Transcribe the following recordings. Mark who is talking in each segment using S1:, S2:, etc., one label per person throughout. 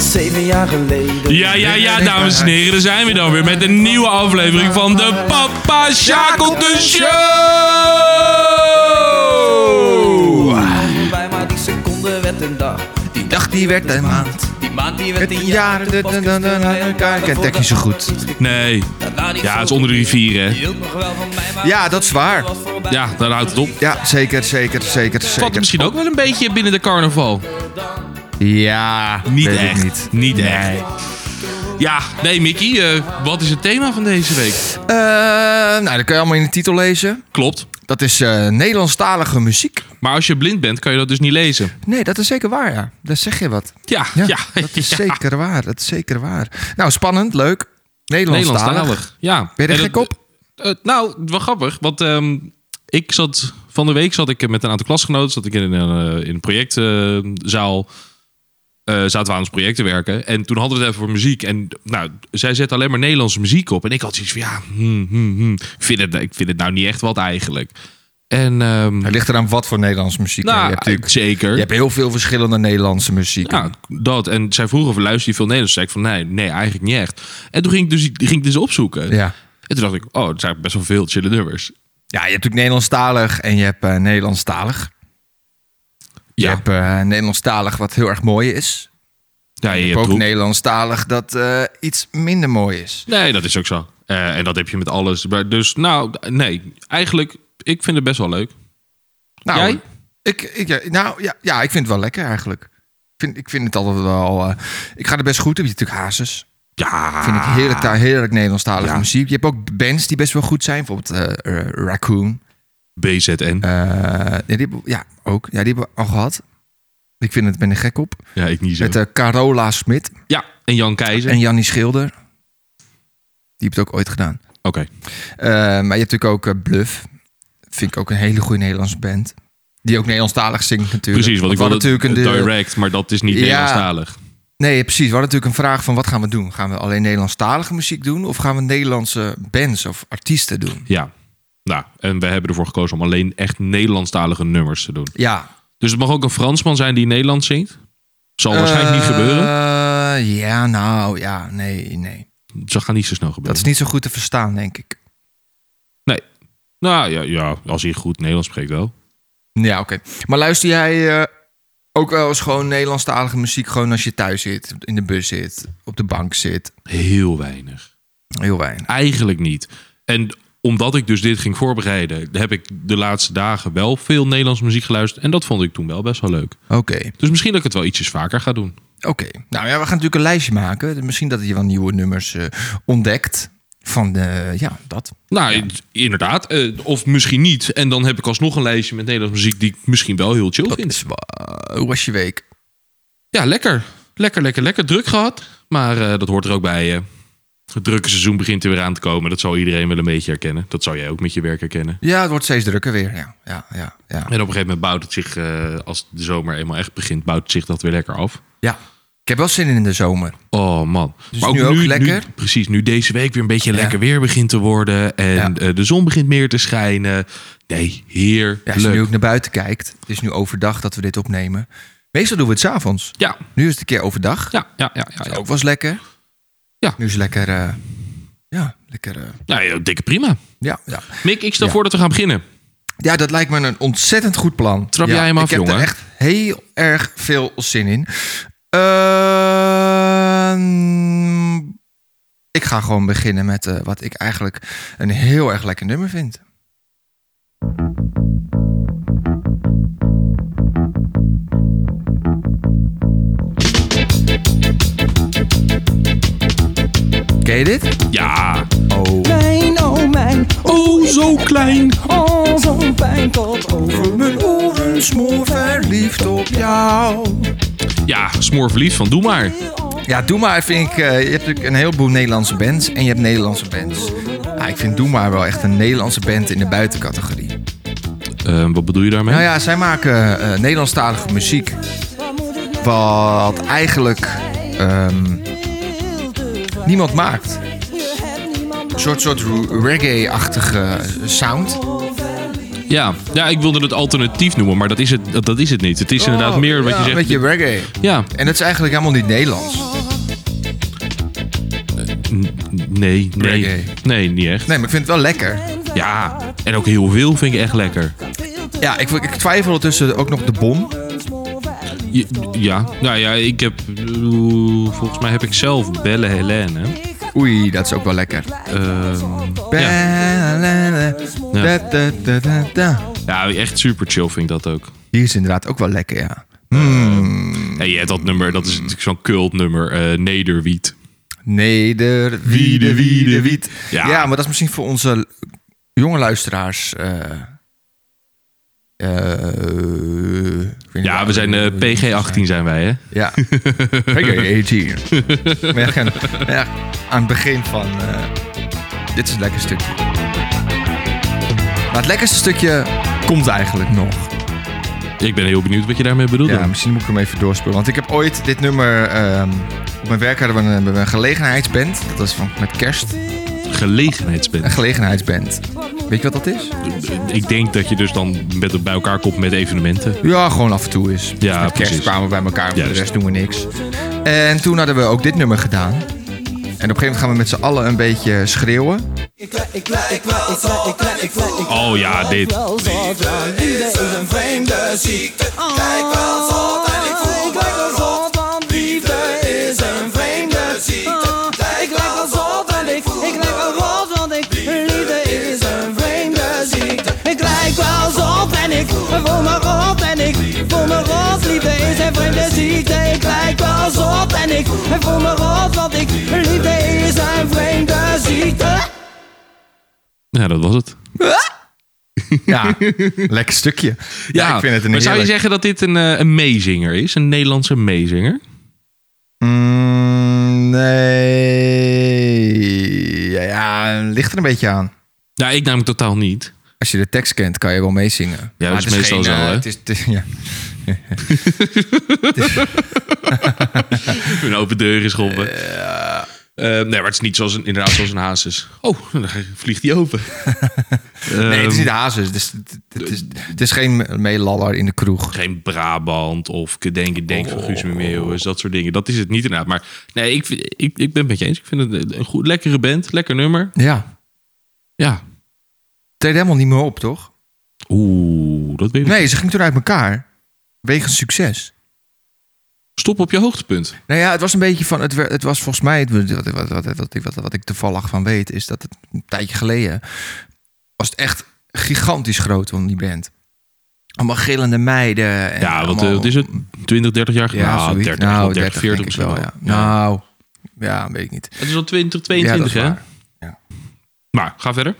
S1: zeven jaar geleden.
S2: Ja, ja, ja, dames en heren, daar zijn we dan weer met een nieuwe aflevering van de Papa Shackleton Show!
S1: Bij maar die seconde werd een dag.
S3: Die dag die werd een maand.
S1: Die maand die werd
S3: Het
S1: een
S3: jaar,
S1: jaar.
S3: de- de- de- de- de- de- elkaar kent echt niet zo goed.
S2: Nee, ja, het is onder de rivier, hè?
S3: Ja, dat is waar.
S2: Ja, daar houdt het op.
S3: Ja, zeker, zeker, zeker,
S2: Valt het
S3: zeker.
S2: misschien ook wel een beetje binnen de carnaval?
S3: Ja,
S2: Niet
S3: weet ik
S2: echt.
S3: niet.
S2: echt. Ja, nee, Mickey, eh, wat is het thema van deze week?
S3: Eh, nou, dat kun je allemaal in de titel lezen.
S2: Klopt.
S3: Dat is eh, Nederlandstalige muziek.
S2: Maar als je blind bent, kan je dat dus niet lezen.
S3: Nee, dat is zeker waar, ja. Daar zeg je wat.
S2: Ja, ja.
S3: Ja, dat is
S2: ja.
S3: zeker waar. Dat is zeker waar. Nou, spannend, leuk. Nederlandstalig.
S2: Nederlandstalig. Ja.
S3: Ben je er
S2: En
S3: gek
S2: dat-
S3: op?
S2: Eh, nou, wel grappig. Want ehm, ik zat van de week zat ik met een aantal klasgenoten zat ik in een, eh, in een projectzaal. eh, zaten we aan ons project te werken. En toen hadden we het even voor muziek. En nou, zij zette alleen maar Nederlandse muziek op. En ik had zoiets van, ja, hmm, hmm, hmm. Ik, vind het, ik vind het nou niet echt wat eigenlijk. En, ehm,
S3: Het ligt eraan wat voor Nederlandse muziek. hè. je,
S2: nou,
S3: hebt natuurlijk,
S2: zeker.
S3: je hebt heel veel verschillende Nederlandse muziek.
S2: Ja, dat. En zij vroegen of luister je veel Nederlands? Toen zei ik van, nee, nee, eigenlijk niet echt. En toen ging ik dus, ging ik dus opzoeken.
S3: Ja.
S2: En toen dacht ik, oh, het zijn best wel veel chille nummers.
S3: Ja, je hebt natuurlijk Nederlandstalig en je hebt eh, Nederlandstalig. Je
S2: Ja.
S3: hebt eh, Nederlandstalig wat heel erg mooi is.
S2: Ja, je
S3: Je
S2: hebt
S3: hebt ook
S2: Roep-
S3: Nederlandstalig dat eh, iets minder mooi is.
S2: Nee, dat is ook zo. Eh, en dat heb je met alles. Maar Dus nou, nee. Eigenlijk, ik vind het best wel leuk.
S3: Nou,
S2: Jij?
S3: Ik, ik, ja, nou ja, ja, ik vind het wel lekker eigenlijk. Ik vind, ik vind het altijd wel... eh, ik ga er best goed op. Je hebt natuurlijk Hazes.
S2: Ja.
S3: Vind ik heerlijk, daar heerlijk Nederlandstalige
S2: Ah. Ja.
S3: muziek. Je hebt ook bands die best wel goed zijn. Bijvoorbeeld eh, eh, Raccoon.
S2: BZN.
S3: Eh, ja, die, hebben- ja, ook. Ja, die hebben we al gehad. Ik vind het, ben er gek op.
S2: ja, ik niet zo.
S3: Met eh, Carola Smit
S2: ja, en Jan Keizer.
S3: en Jannie Schilder. Die heeft het ook ooit gedaan.
S2: Oké.
S3: Eh, maar je hebt natuurlijk ook eh, Bluff. Vind ik ook een hele goede Nederlandse band. Die ook Nederlandstalig zingt natuurlijk.
S2: Precies, want ik
S3: We
S2: wilde
S3: hadden
S2: natuurlijk een
S3: de-
S2: direct, maar dat is niet
S3: Ja.
S2: Nederlandstalig.
S3: Nee, precies. We hadden natuurlijk een vraag van wat gaan we doen? Gaan we alleen Nederlandstalige muziek doen? Of gaan we Nederlandse bands of artiesten doen?
S2: Ja. Nou, en we hebben ervoor gekozen om alleen echt Nederlandstalige nummers te doen.
S3: Ja,
S2: Dus het mag ook een Fransman zijn die Nederlands zingt. Zal waarschijnlijk niet
S3: Eh,
S2: gebeuren.
S3: Ja, nou ja, nee, nee.
S2: Dat gaat niet zo snel
S3: Dat
S2: gebeuren.
S3: is niet zo goed te verstaan, denk ik.
S2: Nou ja, ja, als hij goed Nederlands spreekt wel.
S3: Ja, oké. Maar luister jij eh, ook wel eens gewoon Nederlandstalige muziek... gewoon als je thuis zit, in de bus zit, op de bank zit?
S2: Heel weinig.
S3: Heel weinig.
S2: Eigenlijk niet. En omdat ik dus dit ging voorbereiden, heb ik de laatste dagen wel veel Nederlandse muziek geluisterd. En dat vond ik toen wel best wel leuk.
S3: Oké,
S2: Dus misschien dat ik het wel ietsjes vaker ga doen.
S3: oké. Nou ja, we gaan natuurlijk een lijstje maken. Misschien dat je wel nieuwe nummers eh, ontdekt van, de, ja, dat.
S2: Nou, i- inderdaad. Eh, of misschien niet. En dan heb ik alsnog een lijstje met Nederlandse muziek die ik misschien wel heel chill
S3: dat
S2: vind.
S3: is, wa- hoe was je week?
S2: Ja, lekker. Lekker, lekker, lekker. Druk gehad. Maar eh, dat hoort er ook bij. eh. het drukke seizoen begint er weer aan te komen. Dat zal iedereen wel een beetje herkennen. Dat zou jij ook met je werk herkennen.
S3: Ja, het wordt steeds drukker weer. Ja, ja, ja. ja.
S2: En op een gegeven moment bouwt het zich, eh, als de zomer eenmaal echt begint, bouwt het zich dat weer lekker af.
S3: ja. Ik heb wel zin in de zomer.
S2: Oh man.
S3: Dus nu ook lekker?
S2: precies, nu deze week weer een beetje
S3: Ja.
S2: lekker weer begint te worden. En
S3: Ja.
S2: eh, de zon begint meer te schijnen. Nee, heerlijk.
S3: Ja, als je nu ook naar buiten kijkt. Het is nu overdag dat we dit opnemen. Meestal doen we het s'avonds.
S2: ja,
S3: Nu is het een keer overdag.
S2: ja, ja. ja, ja,
S3: Dat
S2: ja.
S3: ook was lekker.
S2: Ja.
S3: Nu is het lekker... eh, ja, lekker... eh,
S2: Nou ja, dikke prima.
S3: ja, ja.
S2: Mick, ik stel
S3: Ja.
S2: voor dat we gaan beginnen.
S3: ja, dat lijkt me een ontzettend goed plan.
S2: Trap
S3: Ja,
S2: jij hem af,
S3: Ik heb
S2: jongen?
S3: er echt heel erg veel zin in. Ehm, ik ga gewoon beginnen met eh, wat ik eigenlijk een heel erg lekker nummer vind. Ken je dit?
S2: Ja.
S3: Oh.
S4: Mijn, oh mijn,
S2: Oh, zo klein.
S4: oh zo'n pijn tot over mijn
S3: oren smoor verliefd op jou.
S2: Ja, smoor verliefd van doe maar.
S3: Ja, Doe Maar vind ik... eh, je hebt natuurlijk een heleboel Nederlandse bands en je hebt Nederlandse bands. Ah, ik vind Doe Maar wel echt een Nederlandse band in de buitencategorie.
S2: Eh, wat bedoel je daarmee?
S3: Nou ja, zij maken eh, Nederlandstalige muziek. Wat eigenlijk ehm, niemand maakt. Een soort, soort reggae-achtige sound.
S2: ja. Ja, ik wilde het alternatief noemen, maar dat is het, dat, dat is het niet. Het is inderdaad meer wat je
S3: Oh, Ja,
S2: zegt.
S3: Een beetje reggae.
S2: Ja,
S3: En dat is eigenlijk helemaal niet Nederlands.
S2: Nee, nee.
S3: Reggae.
S2: Nee, niet echt.
S3: Nee, maar ik vind het wel lekker.
S2: Ja, en ook heel veel vind ik echt lekker.
S3: Ja, ik, ik twijfel tussen ook nog de bom.
S2: Je- ja, nou ja, ik heb... oeh, Volgens mij heb ik zelf Belle Helene.
S3: Oei, dat is ook wel lekker.
S2: Ehm,
S3: Da, da, da, da, da.
S2: ja, echt super chill vind ik dat ook.
S3: Die is inderdaad ook wel lekker, ja.
S2: En je hebt dat nummer, dat is natuurlijk zo'n cultnummer, eh Nederwiet.
S3: Neder, wiede, wiede, wiet.
S2: Ja.
S3: Ja. maar dat is misschien voor onze jonge luisteraars. eh, eh, ik weet
S2: Ja,
S3: niet-
S2: we zijn eh, PG-18 zijn wij, hè?
S3: Ja. PG-18. maar ja, gaan- ja, aan het begin van... eh, dit is een lekker stukje. Maar het lekkerste stukje komt eigenlijk nog.
S2: Ik ben heel benieuwd wat je daarmee bedoelt.
S3: Ja, misschien moet ik hem even doorspelen. Want ik heb ooit dit nummer... ehm, op mijn werk hadden we een, hebben we een gelegenheidsband. Dat was van, met kerst. Een
S2: Gelegenheidsband.
S3: gelegenheidsband. Weet je wat dat is?
S2: Ik denk dat je dus dan met, bij elkaar komt met evenementen.
S3: Ja, gewoon af en toe is.
S2: Ja,
S3: met kerst
S2: precies.
S3: kwamen we bij elkaar, voor de
S2: Juist.
S3: rest doen we niks. En toen hadden we ook dit nummer gedaan. En op een gegeven moment gaan we met z'n allen een beetje schreeuwen.
S2: Oh ja, dit.
S4: Ik lijk wel zot en ik voel me rot en ik voel me rot. Liefde is een vreemde ziekte. Ik lijk wel zot en ik voel me rot, want ik liefde is een vreemde ziekte.
S2: Ja, dat was het.
S3: Ja, lekker stukje. Ja, ik vind het een
S2: maar zou je
S3: heerlijk-
S2: zeggen dat dit een, eh, een meezinger is? Een Nederlandse meezinger?
S3: Mm, nee. Ja, ja, ligt er een beetje aan.
S2: Nou, ik namelijk totaal niet.
S3: Als je de tekst kent, kan je wel meezingen.
S2: Ja, dat
S3: Maar
S2: is
S3: het
S2: meestal zo,
S3: geen, eh,
S2: hè?
S3: Het is, het is- ja.
S2: Een open deur is schoppen. Eh, nee, maar het is niet zoals een, inderdaad zoals een hazes. Oh, dan vliegt die open.
S3: Nee, het is
S2: Ehm,
S3: niet hazes. Het is, het is, het is geen meelaller in de kroeg.
S2: geen Brabant of denken denk
S3: Oh.
S2: van Guus Meeuwis, dat soort dingen. Dat is het niet inderdaad. Maar nee, ik, vind- ik, ik ben het met je eens. Ik vind het een- een goed, lekkere band, lekker nummer.
S3: Ja.
S2: Ja.
S3: Treed helemaal niet meer op, toch?
S2: Oeh, dat weet ik.
S3: Nee, ze ging toen uit elkaar. Wegens succes.
S2: Stop op je hoogtepunt.
S3: Nou ja, het was een beetje van. Het, wer- het was volgens mij. Wat, wat, wat, wat, wat, wat, wat ik toevallig van weet. Is dat het een tijdje geleden. Was het echt gigantisch groot van die band. Allemaal gillende meiden. En
S2: Ja, want eh,
S3: allemaal-
S2: wat is het? 20, 30 jaar
S3: Ja,
S2: geleden? Nou,
S3: zoiets.
S2: 30,
S3: nou,
S2: 30,
S3: 30,
S2: 40
S3: denk ik
S2: misschien
S3: wel.
S2: wel.
S3: Ja. Nou, ja, weet ik niet.
S2: Het is al 20,
S3: ja, dat
S2: 22,
S3: is
S2: hè?
S3: waar.
S2: Maar ga verder.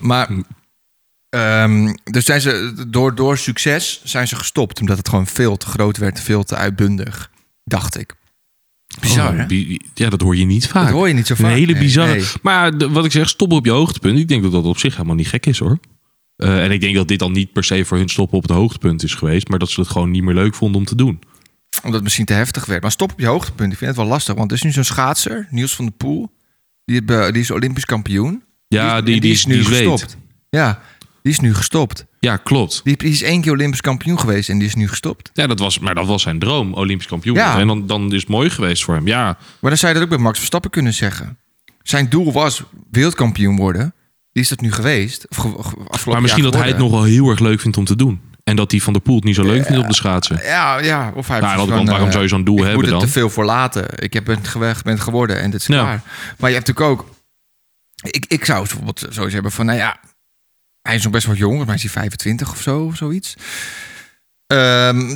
S3: Maar. ehm, dus zijn ze, door, door succes zijn ze gestopt. Omdat het gewoon veel te groot werd, veel te uitbundig. Dacht ik. Bizar,
S2: Oh,
S3: hè?
S2: bi- ja, dat hoor je niet vaak.
S3: Dat hoor je niet zo vaak.
S2: Een hele
S3: Nee,
S2: bizarre.
S3: nee.
S2: Maar eh, de- wat ik zeg, stoppen op je hoogtepunt. Ik denk dat dat op zich helemaal niet gek is hoor. Eh, en ik denk dat dit dan niet per se voor hun stoppen op het hoogtepunt is geweest. Maar dat ze het gewoon niet meer leuk vonden om te doen.
S3: Omdat het misschien te heftig werd. Maar stop op je hoogtepunt. Ik vind het wel lastig. Want er is nu zo'n schaatser, Niels van der Poel. Die, heb- eh, die is Olympisch kampioen.
S2: Ja, die, die, is nu
S3: gestopt. Ja, die is nu gestopt.
S2: Ja, klopt.
S3: Die, die is één keer Olympisch kampioen geweest en die is nu gestopt.
S2: Ja, dat was, maar dat was zijn droom, Olympisch kampioen.
S3: Ja.
S2: En dan, dan is het mooi geweest voor hem. Ja,
S3: Maar dan zou je dat ook bij Max Verstappen kunnen zeggen. Zijn doel was wereldkampioen worden. Die is dat nu geweest. Of ge- ge- afgelopen
S2: maar misschien
S3: jaar
S2: dat hij het
S3: geworden. Eh,
S2: nog wel heel erg leuk vindt om te doen. En dat hij Van der Poel het niet zo leuk vindt op de schaatsen.
S3: Ja, ja. Of hij
S2: Nou,
S3: heeft
S2: want
S3: van,
S2: waarom
S3: eh,
S2: zou je zo'n doel
S3: ik
S2: hebben
S3: moet er
S2: dan?
S3: te veel voor laten. Ik heb het geweg, ben het geworden en dit is
S2: Ja.
S3: klaar. Maar je hebt natuurlijk ook... Ik, ik zou bijvoorbeeld zoiets hebben van... Nou ja, hij is nog best wel jong. Maar hij is hij 25 of zo, of zoiets. Ehm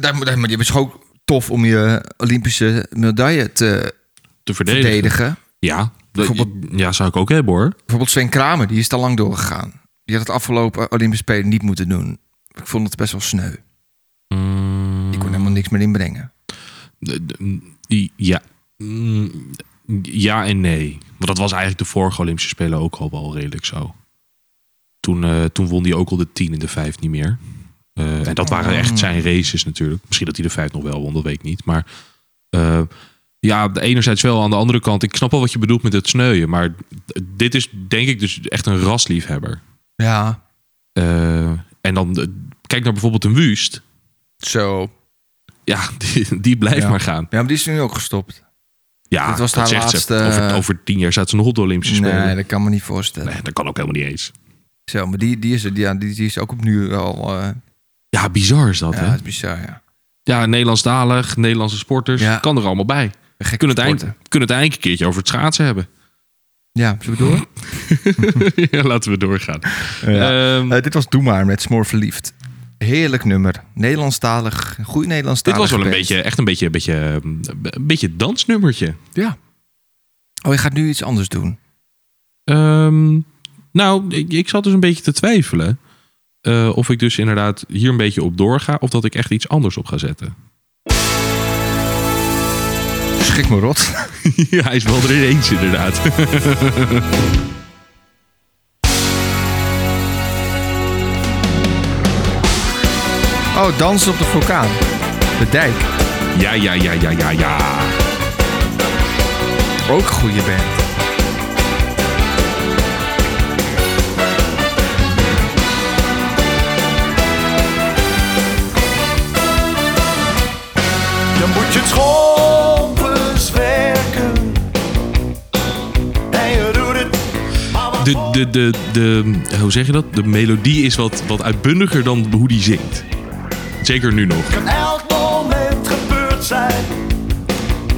S3: daar, moet- daar, maar het is ook tof om je Olympische medaille te
S2: Te verdedigen.
S3: verdedigen.
S2: Ja, dat-
S3: Bijvoorbeeld-
S2: ja, zou ik ook hebben hoor.
S3: Bijvoorbeeld Sven Kramer, die is te lang doorgegaan. Die had het afgelopen Olympische Spelen niet moeten doen. Ik vond het best wel sneu.
S2: Mm.
S3: Die kon helemaal niks meer inbrengen.
S2: De- de- die- Ja. Mm, Ja en nee. Want dat was eigenlijk de vorige Olympische Spelen ook al wel redelijk zo. Toen, eh, toen won hij ook al de 10 en de 5 niet meer. Eh, en dat waren echt zijn races natuurlijk. Misschien dat hij de 5 nog wel won, dat weet ik niet. Maar eh, ja, de enerzijds wel, aan de andere kant. Ik snap wel wat je bedoelt met het sneuien. Maar d- dit is denk ik dus echt een rasliefhebber.
S3: Ja,
S2: Eh, en dan eh, kijk naar bijvoorbeeld een Wust.
S3: zo.
S2: Ja, die, die blijft
S3: Ja.
S2: maar gaan.
S3: Ja, maar die is nu ook gestopt.
S2: Ja,
S3: Dit was
S2: dat
S3: haar
S2: zegt
S3: laatste- eh,
S2: ze. Over, over tien jaar staat ze nog op de Olympische Spelen.
S3: Nee, dat kan me niet voorstellen.
S2: Nee, dat kan ook helemaal niet eens.
S3: Zo, maar die, die, is, er- die, ja, die, die is ook opnieuw al... eh
S2: Ja, bizar is dat,
S3: ja,
S2: hè?
S3: dat is bizar, ja.
S2: Ja, Nederlandsdalig, Nederlandse sporters.
S3: Ja.
S2: Kan er allemaal bij.
S3: Gekke
S2: Kunnen het, eind,
S3: sporten.
S2: kunnen het eind een keertje over het schaatsen hebben.
S3: Ja, zullen we door?
S2: Ja, Laten we doorgaan. Ehm,
S3: Eh, dit was Doe Maar met Smoor Verliefd. Heerlijk nummer. Nederlandstalig. Goed
S2: dit
S3: Nederlandstalig.
S2: was wel een
S3: band.
S2: beetje, echt een beetje, een beetje, ehm, een beetje dansnummertje.
S3: Ja. Oh, je gaat nu iets anders doen.
S2: Ehm, nou, ik, ik zat dus een beetje te twijfelen. eh, of ik dus inderdaad hier een beetje op doorga. Of dat ik echt iets anders op ga zetten.
S3: Schrik me rot.
S2: ja, hij is wel er ineens inderdaad.
S3: Oh, dansen op de vulkaan. De dijk.
S2: ja, ja, ja, ja, ja, ja.
S3: Ook een goede band.
S5: Dan moet je trompes werken. En je doet het. maar wat
S2: De, de, de, de, hoe zeg je dat? De melodie is wat, wat uitbundiger dan hoe die zingt. Zeker nu nog.
S5: kan elk moment gebeurd zijn.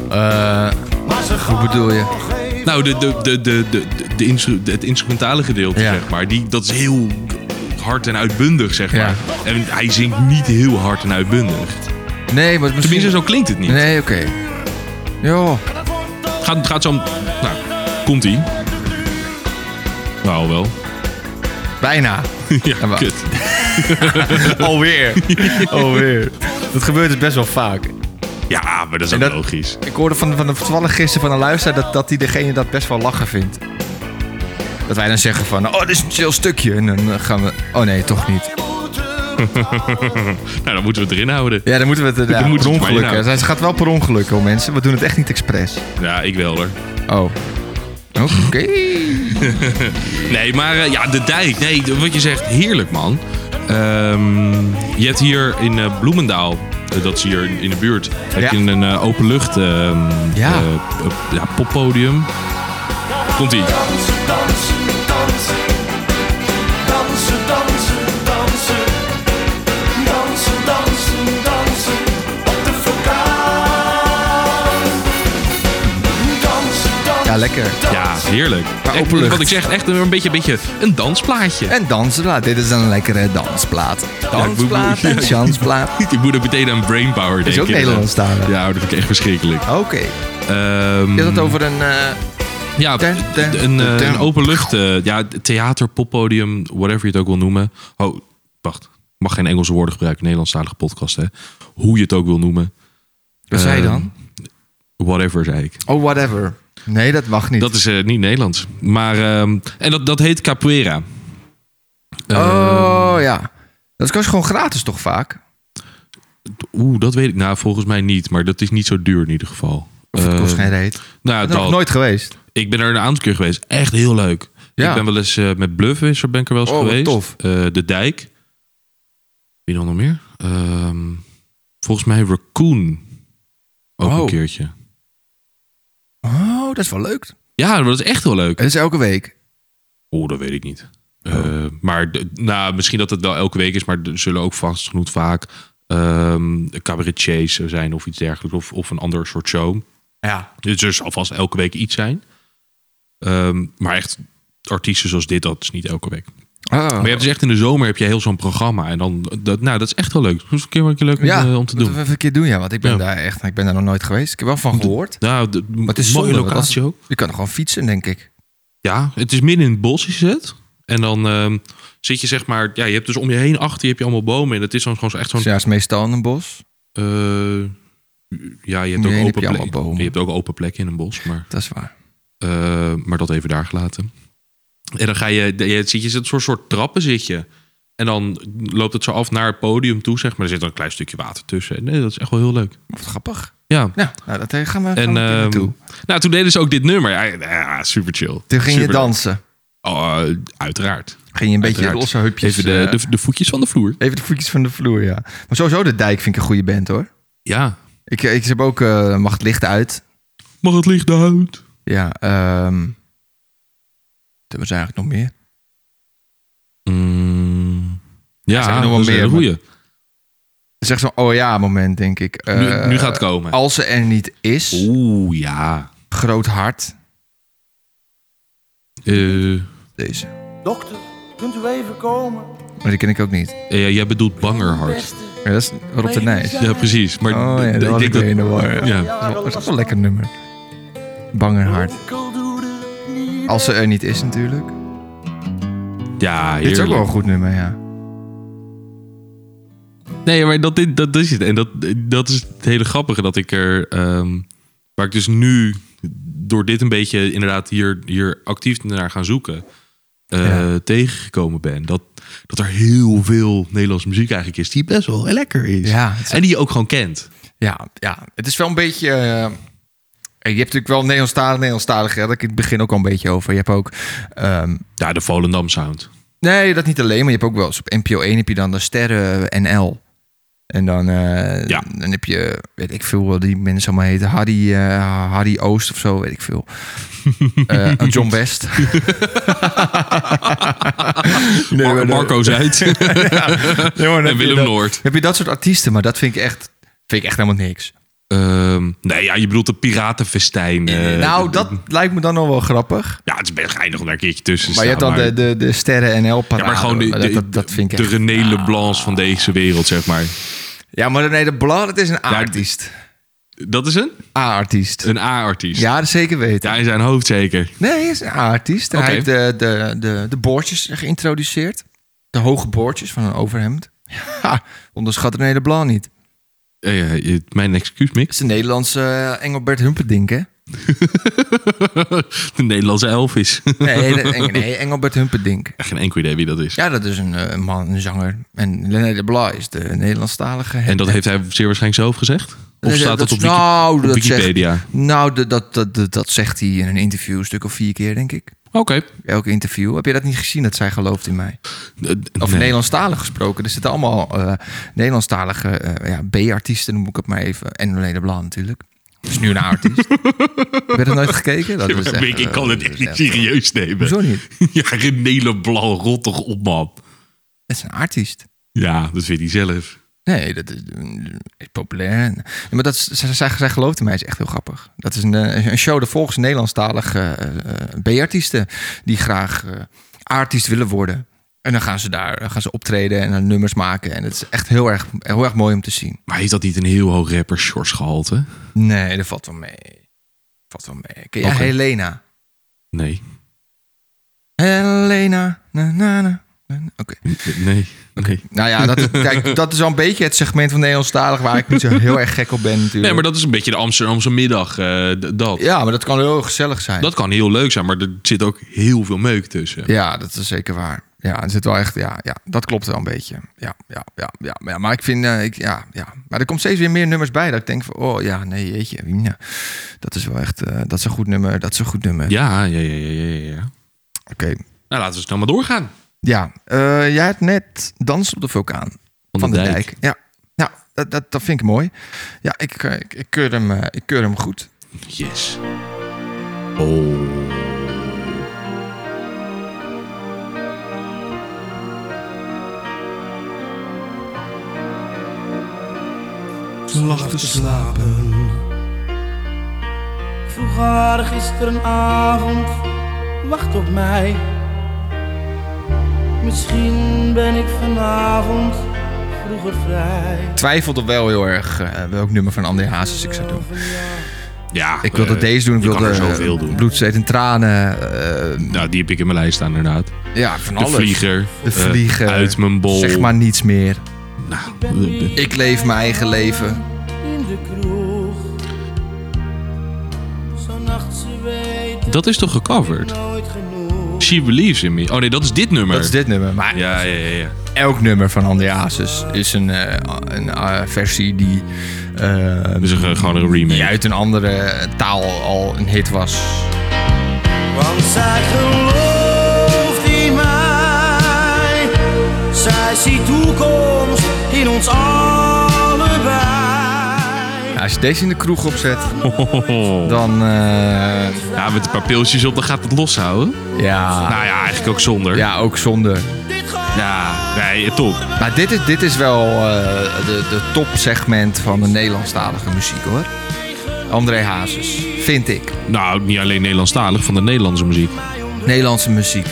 S5: maar ze
S3: Hoe Eh, bedoel je?
S2: Nou, de, de, de, de, de, de, de instru- het instrumentale gedeelte,
S3: Ja.
S2: zeg maar. Die, dat is heel hard en uitbundig, zeg
S3: Ja.
S2: maar. En hij zingt niet heel hard en uitbundig.
S3: Nee, maar misschien...
S2: Tenminste, zo klinkt het niet.
S3: Nee, oké. Jo.
S2: Gaat, gaat zo... Nou, komt-ie. Nou, wel.
S3: Bijna.
S2: ja,
S3: maar-
S2: kut.
S3: Alweer. Alweer. Dat gebeurt dus best wel vaak.
S2: Ja, maar dat is ook
S3: dat-
S2: logisch.
S3: Ik hoorde van, van de toevallig gisteren van een luisteraar dat, dat die degene dat best wel lachen vindt. Dat wij dan zeggen van, oh, dit is een chill stukje. En dan eh, gaan we, oh nee, toch niet.
S2: Nou, dan moeten we het erin houden.
S3: Ja, dan moeten we het eh, ja,
S2: moeten we
S3: per
S2: het maar
S3: ongeluk. hè.
S2: inhouden.
S3: Het gaat wel per ongeluk, hoor, mensen. We doen het echt niet expres.
S2: Ja, ik wel, hoor.
S3: Oh. Oké.
S2: Mhm. Nee, maar eh, ja, de dijk. Nee, de- wat je zegt, heerlijk man. Ehm, je hebt hier in eh, Bloemendaal, eh, dat is hier in, in de buurt, heb
S3: Ja.
S2: je een eh, openlucht ehm,
S3: Ja.
S2: eh, eh, ja, poppodium. Komt-ie.
S5: Dansen, dansen, dansen. Dansen, dansen, dansen. Dansen, dansen, dansen. Op de vulkaan. Dansen, dansen.
S3: Ja, lekker.
S2: Ja, heerlijk.
S3: Maar
S2: Echt,
S3: openlucht.
S2: Wat ik zeg, echt een beetje, beetje een dansplaatje.
S3: En dansen, nou, dit is dan een lekkere dansplaat. Dansplaat
S2: Ja, ik
S3: en
S2: moet-
S3: chansplaat.
S2: Ik moet er meteen aan Brainpower denken.
S3: ook Nederlandstalig.
S2: Ja, dat vind ik echt verschrikkelijk.
S3: Oké.
S2: Ehm,
S3: Je had het over een... eh,
S2: Ja,
S3: Ten- ten-
S2: een, eh,
S3: ten-
S2: een openlucht, eh, ja, theater, poppodium, whatever je het ook wil noemen. Oh, wacht. Ik mag geen Engelse woorden gebruiken, Nederlandstalige podcast, hè. Hoe je het ook wil noemen.
S3: wat zei je dan?
S2: Whatever, zei ik.
S3: Oh, whatever. Nee, dat mag niet.
S2: Dat is eh, niet Nederlands. Maar, ehm, en dat, dat heet capoeira. ehm,
S3: Oh, ja. Dat kost gewoon gratis toch vaak?
S2: Oeh, dat weet ik. Nou, volgens mij niet. Maar dat is niet zo duur in ieder geval.
S3: Of het
S2: Eh,
S3: kost geen reet?
S2: nou,
S3: Ik ben er nog
S2: dat-
S3: nooit geweest.
S2: Ik ben er een aantal keer geweest. Echt heel leuk.
S3: Ja.
S2: Ik ben wel eens eh, met Bluffwisser ben ik er wel eens
S3: Oh, wat
S2: geweest.
S3: tof.
S2: Eh, de Dijk. Wie dan nog meer? Ehm, volgens mij Raccoon. Ook
S3: Oh.
S2: een keertje.
S3: Oh, dat is wel leuk.
S2: Ja, maar dat is echt heel leuk.
S3: Het is elke week.
S2: Oeh, dat weet ik niet. Eh, maar de- nou, misschien dat het wel elke week is, maar er zullen ook vast genoeg vaak ehm cabaretiers zijn of iets dergelijks. Of, of een ander soort show.
S3: Ja.
S2: Dus er zal vast elke week iets zijn. Ehm, maar echt artiesten zoals dit, dat is niet elke week.
S3: Oh.
S2: Maar je hebt dus echt in de zomer heb je heel zo'n programma. En dan, dat, nou, dat is echt wel leuk. Dat is een keer wel een keer leuk om,
S3: ja,
S2: eh, om te
S3: moeten
S2: doen.
S3: we even een keer doen, ja. Want ik ben
S2: Ja.
S3: daar echt, ik ben daar nog nooit geweest. Ik heb wel van gehoord.
S2: Nou, de,
S3: Maar het is
S2: mooie
S3: zonde, want als-
S2: locatie ook.
S3: Je kan er gewoon fietsen, denk ik.
S2: Ja, het is midden in het bos is het. En dan ehm, zit je zeg maar... Ja, je hebt dus om je heen achter je, heb je allemaal bomen. En het is dan gewoon zo- echt zo'n...
S3: Dus ja, het is meestal in een bos.
S2: eh, ja, je
S3: Om
S2: hebt,
S3: je
S2: ook
S3: heen heb
S2: open
S3: je allemaal
S2: plek,
S3: bomen.
S2: je hebt ook open plekken in een bos. Maar,
S3: Dat is waar.
S2: eh, maar dat even daar gelaten. En dan ga je... je zit je zit een soort, soort trappen zit je. En dan loopt het zo af naar het podium toe, zeg maar. Er zit dan een klein stukje water tussen. Nee, dat is echt wel heel leuk.
S3: Wat grappig.
S2: Ja.
S3: Nou, nou dat eh, gaan we, gaan
S2: En
S3: we een keer
S2: ehm,
S3: naartoe.
S2: nou, toen deden ze ook dit nummer. Ja, ja, super chill.
S3: Toen ging je
S2: Super leuk.
S3: dansen.
S2: Oh, eh, uiteraard.
S3: Ging je een beetje
S2: Uiteraard.
S3: losse heupjes.
S2: Even de,
S3: eh,
S2: de, de voetjes van de vloer.
S3: even de voetjes van de vloer, ja. Maar sowieso de dijk vind ik een goede band, hoor.
S2: Ja.
S3: Ik, ik ze hebben ook eh Mag het licht uit.
S2: Mag het licht uit?
S3: Ja, ehm. Er was eigenlijk nog meer.
S2: Mm,
S3: Er zijn
S2: ja,
S3: er nog wel
S2: dat is een
S3: meer,
S2: hele goeie.
S3: Het is echt zo'n oh ja moment, denk ik. Eh,
S2: nu gaat het komen.
S3: Als ze er niet is,
S2: Oeh, ja.
S3: groot hart.
S2: Eh,
S3: Deze.
S5: Dokter, kunt u even komen?
S3: Maar die ken ik ook niet.
S2: ja, jij bedoelt Bangerhart.
S5: Beste,
S3: Ja, dat is Rob de Nijs.
S2: Ja, precies. Maar
S3: Oh
S2: d-
S3: ja,
S2: d-
S3: dat was ik
S2: ik
S3: weer in
S2: denk
S3: de war.
S2: dat...
S3: Ja.
S2: Ja.
S3: Dat is wel een lekker nummer. Bangerhart.
S5: onkel doet het niet.
S3: Als ze er niet is natuurlijk.
S2: ja,
S3: Dit is ook wel een
S2: heerlijk.
S3: goed nummer, ja.
S2: Nee, maar dat, dit, dat is het. En dat, dat is het hele grappige dat ik er... ehm, waar ik dus nu door dit een beetje inderdaad hier, hier actief naar gaan zoeken... eh,
S3: Ja.
S2: tegengekomen ben. Dat, dat er heel veel Nederlandse muziek eigenlijk is die best wel lekker is.
S3: Ja, het is-
S2: En die je ook gewoon kent.
S3: Ja, ja. Het is wel een beetje... eh, je hebt natuurlijk wel Nederlandstalig, Nederlandstalig. Daar had ik in het begin ook al een beetje over. Je hebt ook... ehm,
S2: Ja, de Volendam Sound.
S3: nee, dat niet alleen. Maar je hebt ook wel eens op NPO 1 heb je dan de Sterren NL. En dan, eh,
S2: Ja.
S3: dan heb je, weet ik veel, wat die mensen allemaal heten. Harry, eh, Harry Oost of zo, weet ik veel. Eh, John West. Nee, maar
S2: Mar-
S3: de-
S2: Marco Zuid
S3: Ja, maar dan
S2: en
S3: heb je
S2: Willem
S3: dat-
S2: Noord.
S3: Heb je dat soort artiesten, maar dat vind ik echt, vind ik echt helemaal niks.
S2: Ehm, nee, ja, je bedoelt de Piratenfestijn. eh,
S3: nou, dat lijkt me dan nog wel grappig.
S2: Ja, het is best geinig om daar een keertje tussen te
S3: Maar je hebt
S2: staan,
S3: dan de, de, de Sterren NL parade.
S2: Ja, maar gewoon de,
S3: dat,
S2: de,
S3: dat, dat vind ik
S2: de
S3: echt-
S2: René Leblancs van deze wereld, zeg maar.
S3: Ja, maar nee, de Blad, dat is een A-artiest.
S2: Dat is een?
S3: A-artiest.
S2: Een A-artiest.
S3: Ja, dat zeker weten.
S2: Ja, in zijn hoofd zeker.
S3: Nee, hij is een A-artiest.
S2: Oké.
S3: Hij heeft de, de, de, de boordjes geïntroduceerd. De hoge boordjes van een overhemd. Ja, onderschat René de Blad niet.
S2: Eh, eh, eh, mijn excuus,
S3: Dat
S2: Mix.
S3: is de Nederlandse eh, Engelbert Humperdinck, hè?
S2: De Nederlandse Elvis.
S3: Nee, de- Eng- nee, Engelbert Humperdinck.
S2: Geen enkel idee wie dat is.
S3: Ja, dat is een, eh, een man, een zanger. En René de Bla is de Nederlandstalige.
S2: En dat heeft hij zeer waarschijnlijk zelf gezegd? Of
S3: Nee,
S2: staat dat, op, Wiki-
S3: nou,
S2: op
S3: dat
S2: Wikipedia?
S3: Zegt, nou, dat, dat, dat, dat, dat zegt hij in een interview een stuk of vier keer, denk ik.
S2: Oké.
S3: Elke interview. Heb je dat niet gezien, dat zij gelooft in mij?
S2: Eh,
S3: Of
S2: nee.
S3: Nederlandstalig gesproken. Er zitten allemaal eh, Nederlandstalige eh, ja, B-artiesten, noem ik het maar even. En René de Bla natuurlijk. Dat is nu een artiest. Heb je dat nooit gekeken? Dat is echt,
S2: Mik, ik kan
S3: eh,
S2: het
S3: dat
S2: echt
S3: is
S2: niet serieus nemen.
S3: Hoezo niet?
S2: Ja, René Leblanc, rot toch op, man.
S3: Dat is een artiest.
S2: Ja, dat vindt hij zelf.
S3: Nee, dat is, mm, is populair. Nee, maar dat, is- zij, zij, zij gelooft in mij, is echt heel grappig. Dat is een, eh, een show dat volgens Nederlandstalige eh, eh, B-artiesten... die graag eh artiest willen worden. En dan gaan ze daar eh, gaan ze optreden en dan nummers maken. En het is echt heel erg, heel erg mooi om te zien.
S2: Maar heeft dat niet een heel hoog rapper gehalte?
S3: Nee, dat valt wel mee. Valt wel mee. Ken jij
S2: Oké.
S3: Helena?
S2: Nee.
S3: Helena, na, na, na, na. Oké.
S2: Nee. Nee.
S3: Nou ja, dat, kijk, dat is al een beetje het segment van Nederlandstalig... waar ik niet zo heel erg gek op ben natuurlijk.
S2: Nee, maar dat is een beetje de Amsterdamse middag. eh, d- dat.
S3: Ja, maar dat kan heel gezellig zijn.
S2: dat kan heel leuk zijn, maar er zit ook heel veel meuk tussen.
S3: Ja, dat is zeker waar. Ja, er zit wel echt, ja, ja, dat klopt wel een beetje. Ja, ja, ja, ja. Maar, ja, maar ik vind, eh, ik, ja, ja. Maar er komt steeds weer meer nummers bij dat ik denk van, oh ja, nee, jeetje, Wiener. Dat is wel echt, eh, dat is een goed nummer, dat is een goed nummer.
S2: Ja, ja, ja, ja, ja. ja.
S3: Oké.
S2: Nou, laten we snel maar doorgaan.
S3: Ja, eh, jij hebt net Dans op de Vulkaan van, de, dijk. Ja, nou, dat, dat, dat vind ik mooi. Ja, ik, eh, ik, ik, keur, hem, eh, ik keur hem goed.
S2: Yes. Oh.
S4: Ze lag te slapen. Ik Vroeg haar gisterenavond, wacht op mij. Misschien ben ik vanavond vroeger vrij.
S3: Ik twijfelde wel heel erg eh, welk nummer van André Hazes ik zou doen.
S2: Ja.
S3: Ik wilde
S2: eh,
S3: deze doen, ik
S2: je kan
S3: wilde
S2: er zoveel
S3: eh,
S2: doen.
S3: Bloed, Zweet en Tranen. eh,
S2: Nou, die heb ik in mijn lijst staan, inderdaad.
S3: Ja, van
S2: De
S3: alles.
S2: vlieger.
S3: De vlieger.
S2: eh, uit mijn bol.
S3: Zeg maar niets meer. Nou,
S2: Eh,
S3: Ik leef mijn eigen leven.
S4: in de kroeg. Zo'n nacht, ze weten
S2: Dat is toch gecoverd?
S4: nooit genoeg.
S2: She Believes in Me. Oh nee, dat is dit nummer.
S3: Dat is dit nummer. Maar
S2: Ja, ja, ja. ja.
S3: elk nummer van André Hazes is een, eh, een eh, versie die, eh,
S2: Dat is een- gewoon een remake.
S3: die uit een andere taal al een hit was.
S5: Want zij gelooft in mij. Zij ziet toekomst in ons allebei.
S3: Ja, Nou, als je deze in de kroeg opzet,
S2: Hohoho.
S3: dan... eh,
S2: Ja, Nou, met een paar pilsjes op, dan gaat het loshouden.
S3: ja,
S2: Nou ja, eigenlijk ook zonder.
S3: ja, ook zonde.
S2: Ja, nee, eh, top.
S3: Maar dit is, dit is wel eh, de, de topsegment van de Nederlandstalige muziek, hoor. André Hazes, vind ik.
S2: Nou, niet alleen Nederlandstalig, van de Nederlandse muziek.
S3: Nederlandse muziek.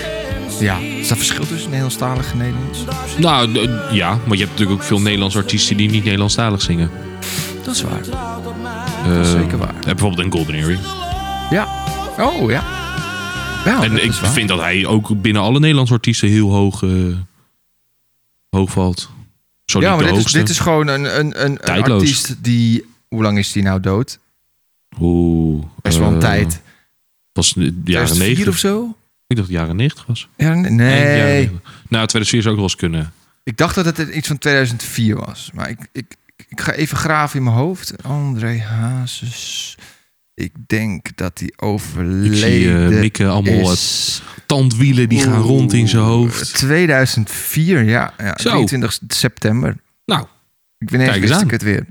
S3: Ja, is dat verschil tussen Nederlandstalig en Nederlands?
S2: Nou, d- ja, maar je hebt natuurlijk ook veel Nederlandse artiesten die niet Nederlandstalig zingen.
S3: Dat is waar.
S2: Eh,
S3: is zeker waar.
S2: eh, Bijvoorbeeld een Golden Earring.
S3: Ja. Oh, ja. Ja,
S2: en
S3: dat
S2: ik
S3: is waar.
S2: vind dat hij ook binnen alle Nederlandse artiesten heel hoog, eh, hoog valt. Zo
S3: Ja,
S2: niet
S3: maar
S2: de
S3: dit is,
S2: hoogste.
S3: dit is gewoon een, een, een, een
S2: Tijdloos.
S3: artiest die... Hoe lang is die nou dood?
S2: Oeh,
S3: Best wel een
S2: eh,
S3: tijd.
S2: was in de jaren
S3: 2004
S2: 90.
S3: of zo?
S2: Ik dacht dat het jaren 90 was.
S3: Ja,
S2: Eind jaren
S3: nee.
S2: 90. Nou, 2004 zou ook wel eens kunnen.
S3: Ik dacht dat het iets van 2004 was. Maar ik, ik, ik ga even graven in mijn hoofd. André Hazes. Ik denk dat hij overleden
S2: Ik zie eh, Mikke eh, allemaal eh,
S3: is.
S2: tandwielen die gaan rond in zijn hoofd.
S3: 2004, ja. ja
S2: Zo.
S3: 23 september.
S2: Nou,
S3: Ik ben eens
S2: Kijk eens
S3: wist
S2: aan.
S3: ik het weer.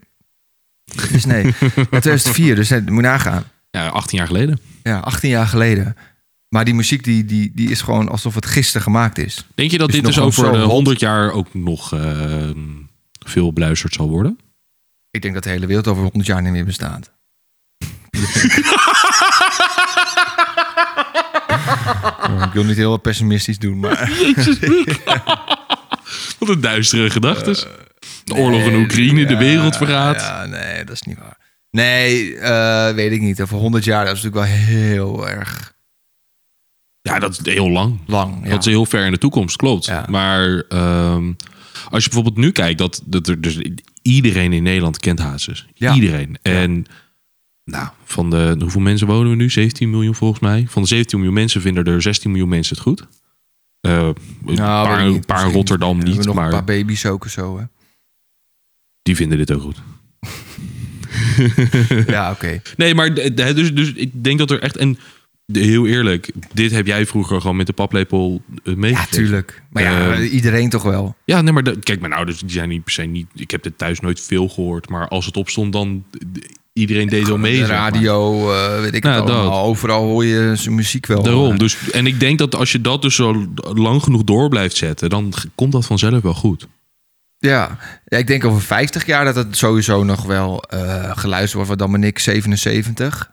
S3: Dus nee, ja, 2004, dus nee, moet je nagaan.
S2: ja, 18 jaar geleden.
S3: Ja, 18 jaar geleden. Maar die muziek die, die, die is gewoon alsof het gisteren gemaakt is.
S2: Denk je dat
S3: Is
S2: dit
S3: nog
S2: dus
S3: gewoon
S2: over
S3: zo
S2: de
S3: hot?
S2: 100 jaar ook nog eh, veel beluisterd zal worden?
S3: Ik denk dat de hele wereld over 100 jaar niet meer bestaat. ik wil niet heel pessimistisch doen, maar...
S2: Wat een duistere gedachte. de oorlog in Oekraïne, de wereld verraadt.
S3: Eh, Ja, nee, dat is niet waar. Nee, eh, weet ik niet. Over 100 jaar, dat is natuurlijk wel heel erg
S2: Ja, dat is heel lang.
S3: lang. Ja.
S2: Dat is heel ver in de toekomst, klopt.
S3: Ja.
S2: Maar ehm, als je bijvoorbeeld nu kijkt, dat, dat er dus iedereen in Nederland kent Hazes.
S3: Ja.
S2: Iedereen. En nou, van de hoeveel mensen wonen we nu? 17 miljoen volgens mij. Van de 17 miljoen mensen vinden er 16 miljoen mensen het goed. Eh, een
S3: Nou, weet
S2: paar,
S3: ik
S2: een
S3: niet.
S2: paar
S3: Misschien
S2: Rotterdam
S3: hebben we
S2: niet,
S3: nog
S2: maar
S3: een paar baby's ook of zo, hè?
S2: die vinden dit ook goed.
S3: Ja, oké.
S2: Nee, maar de- de- dus, dus ik denk dat er echt... En de- heel eerlijk, dit heb jij vroeger gewoon met de paplepel eh,
S3: Ja,
S2: meegekregen.
S3: tuurlijk. Maar ja,
S2: Ehm,
S3: iedereen toch wel.
S2: Ja, nee, maar de- kijk, mijn ouders die zijn niet per se niet. Ik heb dit thuis nooit veel gehoord, maar als het opstond, dan d- iedereen deed wel mee.
S3: de
S2: zeg maar.
S3: radio, eh, weet ik
S2: Nou,
S3: het allemaal.
S2: dat.
S3: Overal hoor je zijn muziek wel.
S2: Daarom.
S3: Eh,
S2: Dus, en ik denk dat als je dat dus zo lang genoeg door blijft zetten, dan g- komt dat vanzelf wel goed.
S3: Ja. ja, ik denk over 50 jaar dat het sowieso nog wel eh, geluisterd wordt. Wat dan ben ik 77.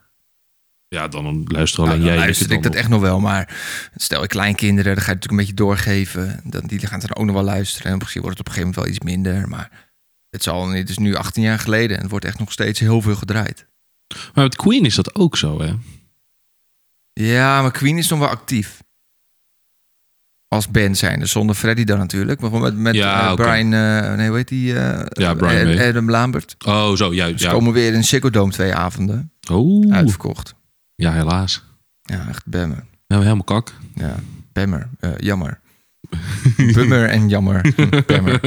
S2: Ja, dan luister
S3: Nou,
S2: alleen
S3: dan
S2: jij. dus
S3: luister ik dat echt nog wel. Maar stel ik kleinkinderen, dan ga je het natuurlijk een beetje doorgeven. Dan, die gaan het dan ook nog wel luisteren. En misschien wordt het op een gegeven moment wel iets minder. Maar het, zal, niet- het is nu 18 jaar geleden en het wordt echt nog steeds heel veel gedraaid.
S2: Maar met Queen is dat ook zo, hè?
S3: Ja, maar Queen is nog wel actief. Als band zijnde, zonder Freddy dan natuurlijk. Maar gewoon met, met
S2: Ja,
S3: eh,
S2: oké.
S3: Brian, eh, nee, hoe heet die? eh,
S2: Ja, Brian
S3: Ad-
S2: May.
S3: Adam Lambert.
S2: Oh, zo, juist.
S3: Ze
S2: Ja.
S3: komen weer in Ziggo Dome twee avonden.
S2: Oh,
S3: Uitverkocht.
S2: ja, helaas.
S3: Ja, echt bemmer.
S2: Ja, helemaal kak.
S3: Ja, bemmer. Eh, jammer. Bummer en jammer. Bemmer.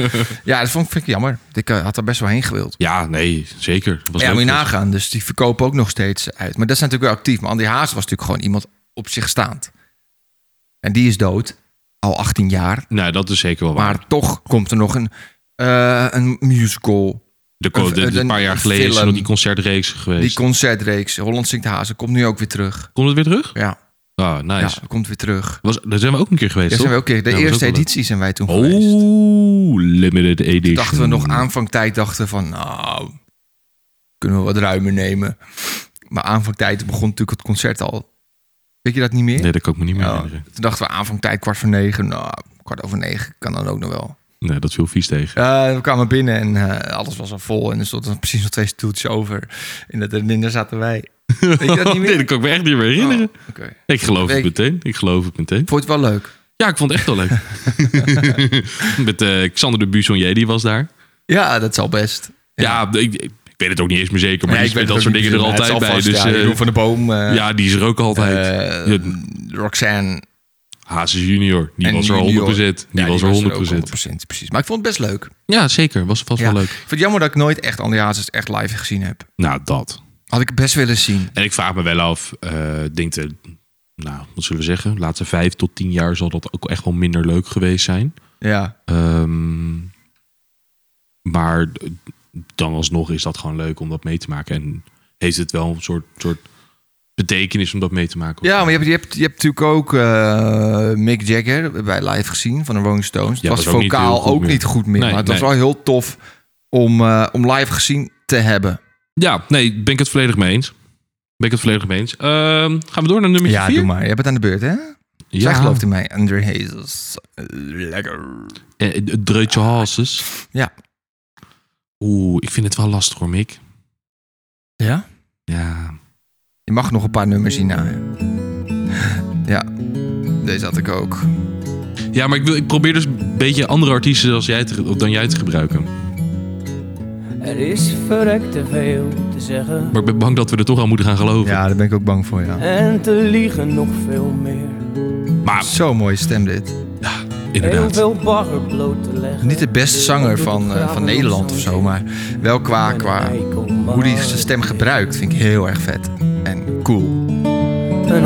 S3: Ja, dat vond ik, vind ik jammer. Ik eh, had er best wel heen gewild.
S2: Ja, nee, zeker. Was
S3: Ja,
S2: leuk
S3: moet je
S2: geweest.
S3: nagaan. Dus die verkopen ook nog steeds uit. Maar dat is natuurlijk wel actief. Maar Andy Haas was natuurlijk gewoon iemand op zich staand. En die is dood. Al 18 jaar.
S2: Nou, dat is zeker wel waar.
S3: Maar toch komt er nog een, eh, een musical.
S2: de, co-
S3: een-
S2: de- de-
S3: een
S2: een paar jaar geleden is er
S3: film.
S2: nog die concertreeks geweest.
S3: Die concertreeks. Holland zingt Hazen komt nu ook weer terug.
S2: Komt het weer terug?
S3: Ja,
S2: Ah, nice.
S3: ja komt weer terug.
S2: Was, daar zijn we ook een keer geweest,
S3: Ja, zijn we
S2: toch?
S3: ook keer. De
S2: Ja, was ook
S3: eerste
S2: wel leuk.
S3: editie zijn wij toen geweest.
S2: Oh, limited edition.
S3: Dachten we nog aanvangtijd dachten van, nou, kunnen we wat ruimer nemen. Maar aanvangtijd begon natuurlijk het concert al. Weet je dat niet meer?
S2: Nee, dat kan ik me niet meer
S3: Ja.
S2: herinneren.
S3: Toen dachten we aanvangtijd kwart voor negen. Nou, kwart over negen kan dan ook nog wel.
S2: Nee, dat viel vies tegen.
S3: Ja, we kwamen binnen en eh, alles was al vol. En er stonden precies nog twee stoeltjes over. En dat, en daar zaten wij. Weet je dat niet meer?
S2: Nee, dat kan ik me echt niet meer herinneren.
S3: Oh, oké.
S2: Ik geloof
S3: Weet-
S2: het meteen. Ik geloof het meteen.
S3: Vond je het wel leuk?
S2: Ja, ik vond het echt wel leuk. Met eh Xander de Buissonnier, die was daar.
S3: Ja, dat zal best.
S2: Ja, ik, ik weet het ook niet eens meer zeker. Maar
S3: Nee,
S2: die is met
S3: weet
S2: dat
S3: het
S2: soort
S3: ook
S2: dingen er
S3: niet
S2: altijd
S3: precies.
S2: bij.
S3: Het zal
S2: dus
S3: vast, ja,
S2: eh,
S3: Jeroen van de Boom, eh,
S2: ja, die is er ook altijd.
S3: eh,
S2: Ja,
S3: Roxanne.
S2: Hazes junior. Die
S3: en
S2: was er 100%.
S3: Junior.
S2: Die
S3: Ja,
S2: was er 100%.
S3: ook 100%, precies. Maar ik vond het best leuk.
S2: Ja, zeker. Was vast
S3: Ja.
S2: wel
S3: Ik
S2: leuk.
S3: vind het jammer dat ik nooit echt André Hazes echt live gezien heb.
S2: Nou, dat.
S3: Had ik best willen zien.
S2: En ik vraag me wel af, eh denk de, nou, wat zullen we zeggen, laatste vijf tot tien jaar zal dat ook echt wel minder Oh. leuk geweest zijn.
S3: Ja.
S2: Ehm, maar eh, dan alsnog is dat gewoon leuk om dat mee te maken. En heeft het wel een soort, soort betekenis om dat mee te maken.
S3: Ja, maar je hebt, je hebt, je hebt natuurlijk ook eh, Mick Jagger bij live gezien van de Rolling
S2: Ja,
S3: Stones. het was
S2: was ook niet
S3: vocaal
S2: heel goed
S3: ook
S2: meer.
S3: niet goed meer.
S2: Nee,
S3: maar het was
S2: nee.
S3: wel heel tof om, eh, om live gezien te hebben.
S2: ja, nee, ben ik het volledig mee eens. Ben ik het volledig mee eens. Ehm, gaan we door naar nummer
S3: Ja,
S2: 4?
S3: doe maar. Je bent aan de beurt, hè? Zij gelooft in mij. Andre Hazes. Lekker.
S2: Eh, Het dreutje hazes.
S3: Ja.
S2: Oeh, ik vind het wel lastig hoor, Mick.
S3: Ja?
S2: Ja.
S3: Je mag nog een paar nummers hierna. hè. Ja. Deze had ik ook.
S2: Ja, maar ik, wil, ik probeer dus een beetje andere artiesten als jij te, of dan jij te gebruiken.
S6: Er is verrekt te veel te zeggen
S2: Maar ik ben bang dat we er toch aan moeten gaan geloven.
S3: Ja, daar ben ik ook bang voor, ja.
S6: en te liegen nog veel meer.
S2: Maar
S3: Zo'n mooie stem dit.
S6: Heel
S2: inderdaad.
S6: veel bagger bloot te leggen.
S3: Niet de beste zanger van, eh, van Nederland of zo, maar wel qua, qua hoe hij zijn stem gebruikt vind ik heel erg vet. En cool.
S6: Een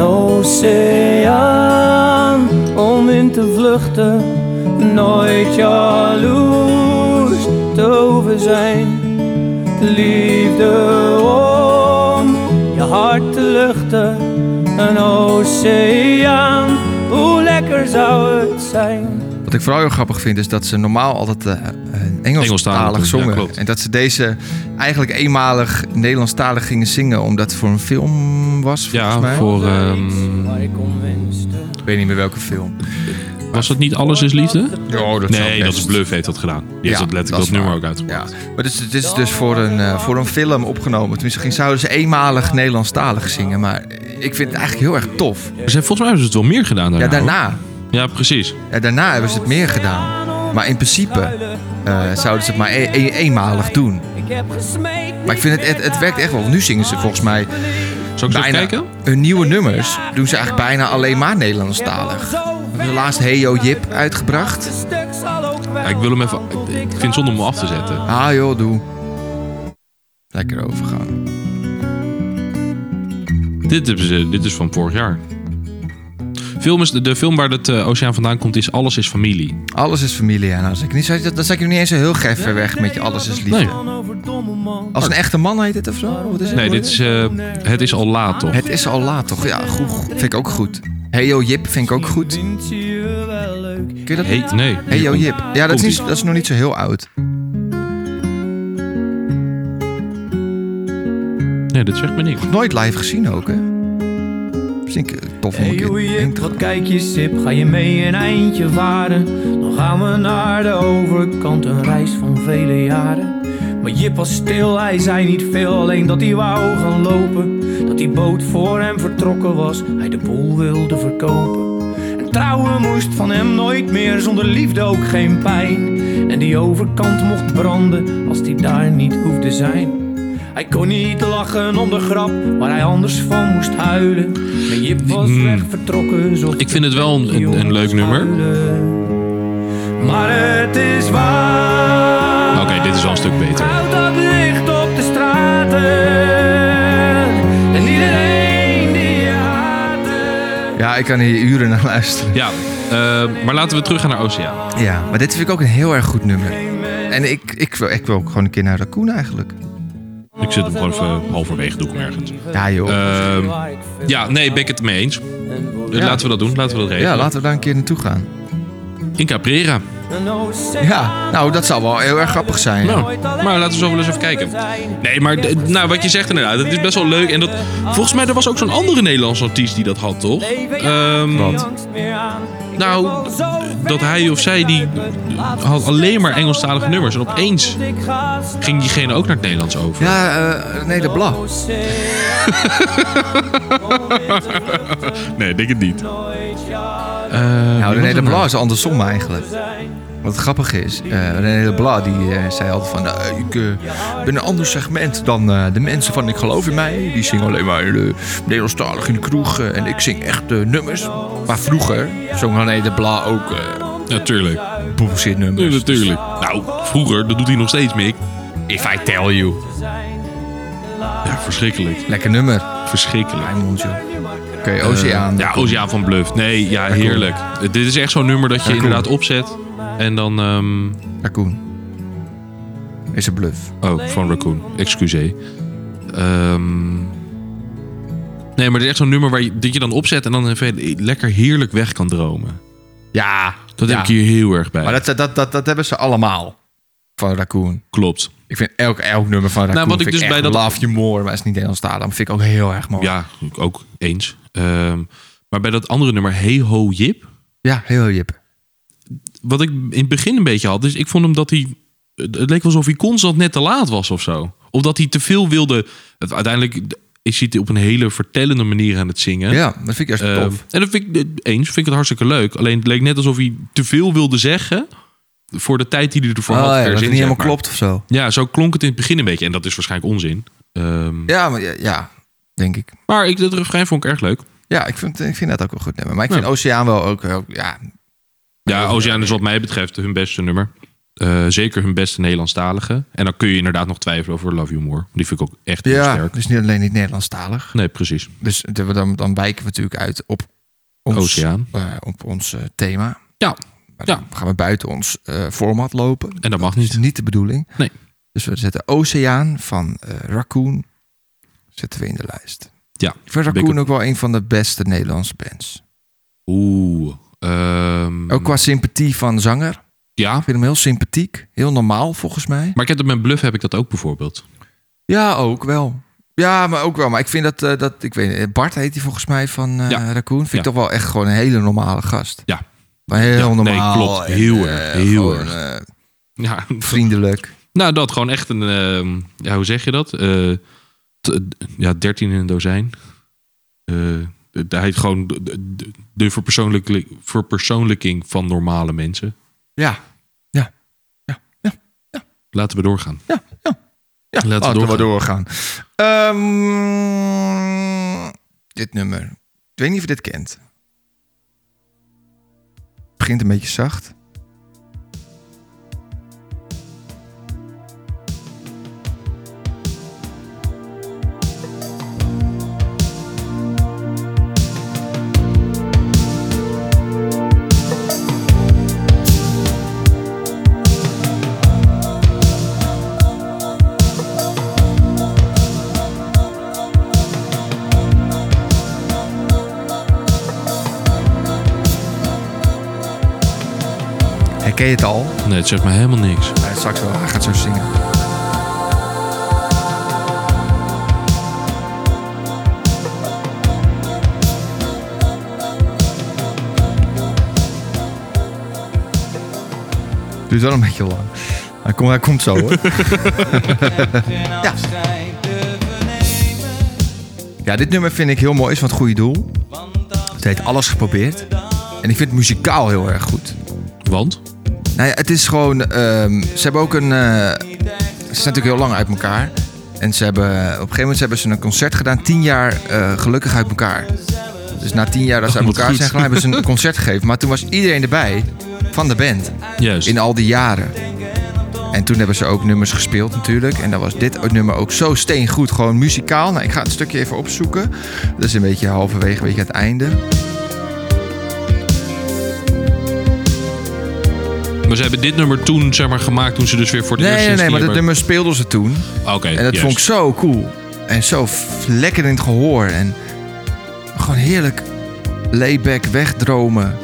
S6: oceaan om in te vluchten. Nooit jaloers te hoeven zijn. Liefde om je hart te luchten. Een oceaan, hoe lekker zou het zijn.
S3: Wat ik vooral heel grappig vind is dat ze normaal altijd eh, eh,
S2: Engelstalig doen,
S3: Engelstalig
S2: ja,
S3: zongen.
S2: klopt.
S3: en dat ze deze eigenlijk eenmalig Nederlandstalig gingen zingen, omdat het voor een film was, volgens
S2: Ja,
S3: mij.
S2: voor... ehm,
S6: Waar ik om wenste.
S3: Ik weet niet meer welke film.
S2: was dat niet Alles is Liefde?
S3: Ja, oh, dat zou
S2: Nee, dat
S3: best.
S2: is Bluff heeft dat gedaan. Die heeft dat letterlijk dat,
S3: is
S2: nummer
S3: waar.
S2: ook uitgebracht.
S3: Ja. Maar dit is, dit is dus voor een, eh, voor een film opgenomen. Tenminste, ging, zouden ze eenmalig Nederlandstalig zingen. Maar ik vind het eigenlijk heel erg tof.
S2: Ze hebben- Dus volgens mij hebben ze het wel meer gedaan daarna.
S3: Ja,
S2: hoor.
S3: daarna.
S2: Ja, precies.
S3: Ja, daarna hebben ze het meer gedaan. Maar in principe eh, zouden ze het maar e- e- eenmalig doen.
S6: Ik heb gesmeekt.
S3: Maar ik vind het, het, het werkt echt wel. Want nu zingen ze volgens mij
S2: Zal ik eens even
S3: bijna...
S2: kijken?
S3: Hun nieuwe nummers doen ze eigenlijk bijna alleen maar Nederlandstalig. Hebben ze laatst Hey Yo Jip uitgebracht.
S2: Ja, ik wil hem even... Ik ik vind het zonde om hem af te zetten.
S3: Ah joh, doe. Lekker overgaan.
S2: Dit, hebben ze, dit is van vorig jaar. Film is, de film waar het eh, oceaan vandaan komt is Alles is Familie.
S3: Alles is familie. Ja, nou, als ik niet, zou- dan zet ik hem niet eens zo heel gek ver weg met je Alles is liefde.
S2: Nee.
S3: Als een echte man heet dit of zo? Wat is het?
S2: Nee, dit is... eh, het is al laat, toch?
S3: Het is al laat toch? Ja, goed, goed. vind ik ook goed. Hey Yo Jip vind ik ook goed.
S6: Vindt ze je wel leuk?
S3: Ken je dat?
S2: Hey, nee.
S3: Hey
S2: Hier
S3: Yo
S2: komt-
S3: Jip. Ja, dat is, niet-
S2: komt-ie.
S3: dat is nog niet zo heel oud.
S2: Nee, dat zegt me niks.
S3: Nooit live gezien ook, hè? Vind ik eh, tof om
S6: Hey
S3: een keer
S6: hoe
S3: heen
S6: je,
S3: te
S6: wat
S3: gaan.
S6: kijk je sip, ga je mee een eindje varen? Dan gaan we naar de overkant, een reis van vele jaren. Maar Jip was stil, hij zei niet veel, alleen dat hij wou gaan lopen. Dat die boot voor hem vertrokken was, hij de boel wilde verkopen. En trouwen moest van hem nooit meer, zonder liefde ook geen pijn. En die overkant mocht branden, als die daar niet hoefde zijn. Hij kon niet lachen om de grap waar hij anders van moest huilen. Maar Jip was
S2: Hmm.
S6: weg vertrokken. zocht
S2: Ik vind het wel een- een- een leuk nummer.
S6: huilen. Maar het is waar.
S2: Oké, dit is wel een stuk beter.
S6: Houd dat licht op de straten. En iedereen die je haatte.
S3: Ja, ik kan hier uren naar luisteren.
S2: Ja, eh, maar laten we terug gaan naar Oceaan.
S3: Ja, maar dit vind ik ook een heel erg goed nummer. En ik, ik, wil, ik wil ook gewoon een keer naar Raccoon eigenlijk.
S2: Ik zit hem gewoon even halverwege, doe ik hem ergens.
S3: Ja, joh.
S2: Ehm, ja, nee, ben ik het mee eens. Eh, Laten we dat doen, laten we dat regelen.
S3: ja, laten we daar een keer naartoe gaan.
S2: In Caprera.
S3: Ja, nou, dat zal wel heel erg grappig zijn.
S2: Nou, maar laten we zo wel eens even kijken. Nee, maar d- nou, wat je zegt inderdaad, dat is best wel leuk. En dat, volgens mij, er was ook zo'n andere Nederlandse artiest die dat had, toch? Ehm, Nou, d- dat hij of zij, die had alleen maar Engelstalige nummers. En opeens ging diegene ook naar het Nederlands over.
S3: Ja, eh nee, de Bla.
S2: Nee, denk het niet. Eh,
S3: Nou, René de Bla is andersom eigenlijk. Wat grappig is, eh René de Bla die eh, zei altijd van... nou, ik eh, ben een ander segment dan eh, de mensen van Ik Geloof in Mij. Die zingen alleen maar eh, Nederlandstalig in de kroeg. eh, en ik zing echt eh, nummers. Maar vroeger zong René de Bla ook eh
S2: Natuurlijk.
S3: bullshit
S2: Ja,
S3: nummers.
S2: natuurlijk. Nou, vroeger, dat doet hij nog steeds, Mick.
S3: If I tell you.
S2: Ja, verschrikkelijk.
S3: Lekker nummer.
S2: Verschrikkelijk.
S3: Raymond, joh. Oké, Oceaan.
S2: Eh, Ja, Oceaan van Bluff. Nee, ja, heerlijk. Dit is echt zo'n nummer dat je inderdaad opzet. En dan... ehm,
S3: Raccoon. Is een bluff.
S2: Oh, van Raccoon. Excuseer. Ehm, nee, maar dit is echt zo'n nummer waar je, dat je dan opzet en dan even lekker heerlijk weg kan dromen.
S3: Ja,
S2: Dat heb ik hier heel erg bij.
S3: Maar dat, dat, dat, dat hebben ze allemaal. Van Raccoon.
S2: klopt.
S3: Ik vind elk, elk nummer van Raccoon
S2: wat ik
S3: vind
S2: dus
S3: echt
S2: bij dat-
S3: Love You More, maar is niet Nederlands taal. vind ik ook heel erg mooi.
S2: Ja, ik ook eens. Ehm, maar bij dat andere nummer, Hey Ho Jip,
S3: Ja, heel jip.
S2: wat ik in het begin een beetje had, dus ik vond hem dat hij. Het het leek wel alsof hij constant net te laat was of zo. Of dat hij te veel wilde. Het- Uiteindelijk is hij het op een hele vertellende manier aan het zingen.
S3: Ja, dat vind ik echt
S2: Ehm,
S3: tof.
S2: en dat vind ik eens, vind ik het hartstikke leuk. Alleen het leek net alsof hij te veel wilde zeggen voor de tijd die hij ervoor
S3: Oh,
S2: had.
S3: ja,
S2: per
S3: dat
S2: zin,
S3: het niet
S2: zeg maar.
S3: helemaal klopt of zo.
S2: Ja, zo klonk het in het begin een beetje. En dat is waarschijnlijk onzin. Ehm,
S3: Ja, maar ja, ja, denk ik.
S2: Maar ik, het refrein vond ik erg leuk.
S3: Ja, ik vind, ik vind dat ook wel goed nummer. Maar ik
S2: Ja.
S3: vind Oceaan wel ook... heel- ja,
S2: Ja, Oceaan is wat mij betreft hun beste nummer. Eh, zeker hun beste Nederlandstalige. En dan kun je inderdaad nog twijfelen over Love You More. Die vind ik ook echt heel
S3: ja
S2: sterk. Hm.
S3: dus niet alleen niet Nederlandstalig.
S2: Nee, precies.
S3: Dus de- dan, dan wijken we natuurlijk uit op ons,
S2: Oceaan.
S3: eh, op ons eh, thema.
S2: Ja.
S3: Maar
S2: Ja.
S3: dan gaan we buiten ons eh, format lopen.
S2: En dat mag
S3: is
S2: niet.
S3: niet de bedoeling.
S2: Nee.
S3: Dus we zetten Oceaan van eh, Raccoon zetten we in de lijst.
S2: Ja.
S3: Ik vind
S2: Ben ik
S3: Raccoon
S2: het-
S3: ook wel een van de beste Nederlandse bands.
S2: Oeh. ehm,
S3: Ook qua sympathie van de zanger. Ik
S2: Ja.
S3: vind hem heel sympathiek. Heel normaal volgens mij.
S2: Maar ik heb dat met Bluff heb ik dat ook bijvoorbeeld.
S3: Ja, ook wel. Ja, maar ook wel. Maar ik vind dat, eh, dat ik weet niet, Bart heet hij volgens mij van eh,
S2: Ja.
S3: Raccoon. Vind ik
S2: Ja.
S3: toch wel echt gewoon een hele normale gast.
S2: Ja.
S3: Maar heel
S2: Ja, nee,
S3: normaal.
S2: klopt.
S3: en,
S2: Heel
S3: eh,
S2: erg, heel
S3: gewoon, eh,
S2: Ja.
S3: vriendelijk.
S2: Nou, dat gewoon echt een. ehm, ja, hoe zeg je dat? Eh, t- ja, 13 in een dozijn. Eh, hij heeft gewoon de, de, de verpersoonlijk- verpersoonlijking van normale mensen.
S3: Ja.
S2: Laten we doorgaan.
S3: Ja, ja, ja.
S2: Laten we doorgaan.
S3: doorgaan. Ehm, dit nummer. Ik weet niet of je dit kent. Het begint een beetje zacht. Herken je het al?
S2: Nee, het zegt me helemaal niks.
S3: Ja, straks wel. Hij gaat zo zingen. Duurt wel een beetje lang. Hij komt, hij komt zo hoor. ja. ja, dit nummer vind ik heel mooi. Is van het goede doel. Het heet Alles geprobeerd. En ik vind het muzikaal heel erg goed.
S2: Want?
S3: Nou ja, het is gewoon. ehm, ze hebben ook een. eh, ze zijn natuurlijk heel lang uit elkaar. En ze hebben, op een gegeven moment hebben ze een concert gedaan, tien jaar eh, gelukkig uit elkaar. Dus na tien jaar dat ze
S2: Oh,
S3: uit
S2: wat
S3: elkaar
S2: goed.
S3: zijn gegaan, hebben ze een concert gegeven. Maar toen was iedereen erbij van de band
S2: Juist.
S3: in al die jaren. En toen hebben ze ook nummers gespeeld natuurlijk. En dan was dit nummer ook zo steengoed, gewoon muzikaal. Nou, ik ga het stukje even opzoeken. Dat is een beetje halverwege, een beetje aan het einde.
S2: Maar ze hebben dit nummer toen zeg maar, gemaakt toen ze dus weer voor de
S3: Nee,
S2: eerste
S3: nee, nee,
S2: keer
S3: maar dat
S2: bij-
S3: nummer speelden ze toen.
S2: Oké,
S3: En dat
S2: juist.
S3: vond ik zo cool. En zo f- lekker in het gehoor. En gewoon heerlijk layback wegdromen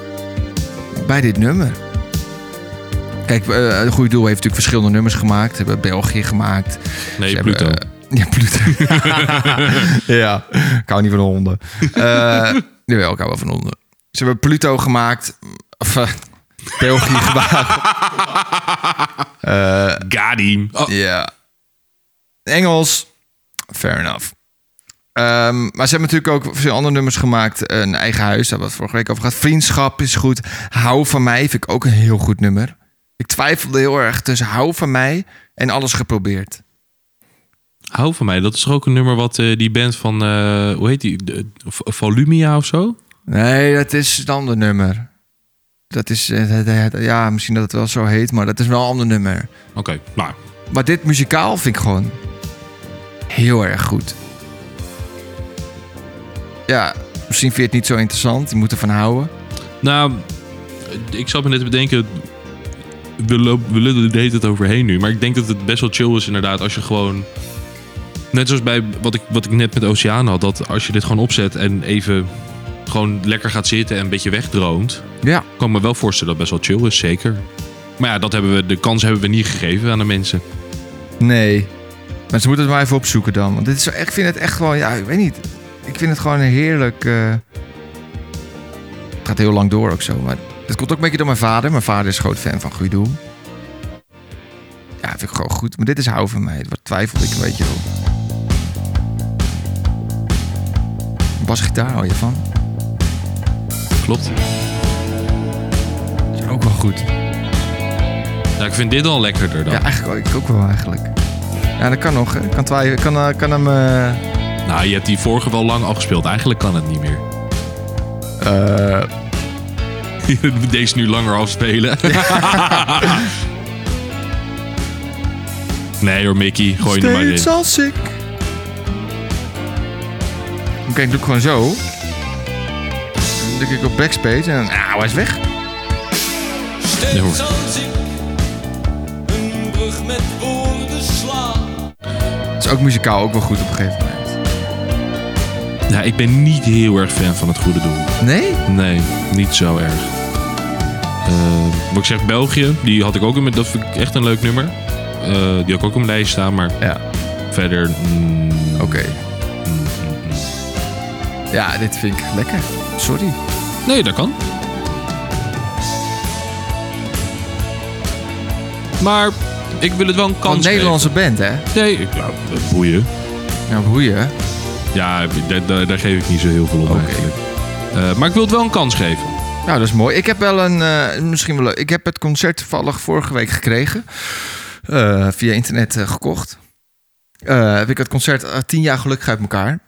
S3: bij dit nummer. Kijk, eh het Goede Doel heeft natuurlijk verschillende nummers gemaakt. Ze hebben België gemaakt.
S2: Nee,
S3: Ze
S2: Pluto.
S3: hebben, eh, ja, Pluto. ja, ik hou niet van honden. Eh jawel, ik hou wel van honden. Ze hebben Pluto gemaakt. Of eh, België gemaakt. Eh,
S2: Gadim. Oh,
S3: ja. Engels. Fair enough. Ehm, maar ze hebben natuurlijk ook veel andere nummers gemaakt. Een eigen huis, daar hebben we het vorige week over gehad. Vriendschap is goed. Hou van mij vind ik ook een heel goed nummer. Ik twijfelde heel erg tussen hou van mij en alles geprobeerd.
S2: Hou van mij. Dat is toch ook een nummer wat eh, die band van... eh, hoe heet die? De- V- Volumia of zo?
S3: Nee, dat is een ander nummer. Dat is, eh, het- het- het- ja, misschien dat het wel zo heet, maar dat is wel een ander nummer.
S2: Oké, nou.
S3: Maar dit muzikaal vind ik gewoon heel erg goed. Ja, misschien vind je het niet zo interessant. Je moet ervan houden.
S2: Nou, ik zat me net te bedenken. we, lopen, we lullen er het overheen nu. Maar ik denk dat het best wel chill is inderdaad als je gewoon... Net zoals bij wat ik, wat ik net met Oceaan had. Dat als je dit gewoon opzet en even gewoon lekker gaat zitten en een beetje wegdroomt.
S3: Ja.
S2: Kan ik me wel voorstellen dat het best wel chill is, zeker. Maar ja, dat hebben we, de kans hebben we niet gegeven aan de mensen.
S3: Nee. Maar ze moeten het maar even opzoeken dan. Want dit is, zo- ik vind het echt gewoon, ja, ik weet niet. Ik vind het gewoon een heerlijk... eh, Het gaat heel lang door ook zo. Maar dat komt ook een beetje door mijn vader. Mijn vader is groot fan van Guido. Ja, vind ik gewoon goed. Maar dit is hou van mij. Daar twijfel ik een beetje op. Basgitaar hou je van?
S2: Klopt.
S3: Is ook wel goed.
S2: Ja, ik vind dit al lekkerder dan.
S3: Ja, eigenlijk ook- ik ook wel eigenlijk. Ja, dat kan nog. hè. Ik kan, twijfelen, kan, eh, kan hem... eh,
S2: Nou, je hebt die vorige wel lang afgespeeld. Eigenlijk kan het niet meer. Deze nu langer afspelen. nee hoor, Mickey. Gooi hem er maar in.
S3: Steeds als ik. Oké, ik doe ik gewoon zo. Dan druk ik op backspace en dan, ah, hij is weg.
S2: Nee, hoor.
S3: Dat is ook muzikaal ook wel goed op een gegeven moment.
S2: Ja, ik ben niet heel erg fan van het goede doel.
S3: Nee?
S2: Nee, niet zo erg. Eh, wat ik zeg, België, die had ik ook in Dat vind ik echt een leuk nummer. Eh, die had ik ook op mijn lijst staan, maar
S3: Ja,
S2: verder... mm,
S3: oké. Ja, dit vind ik lekker. Sorry.
S2: nee, dat kan. Maar ik wil het wel een
S3: Een
S2: kans
S3: Nederlandse band, hè?
S2: geven. Nee, ik- ja, boeien.
S3: Ja, boeien.
S2: Ja, daar, daar, daar geef ik niet zo heel veel om
S3: Oké.
S2: eigenlijk. Eh, maar ik wil het wel een kans geven.
S3: Nou, dat is mooi. Ik heb wel een, eh, misschien wel leuk. Ik heb het concert toevallig vorige week gekregen. Eh, via internet eh, gekocht. Eh, heb ik het concert eh, tien jaar gelukkig uit elkaar.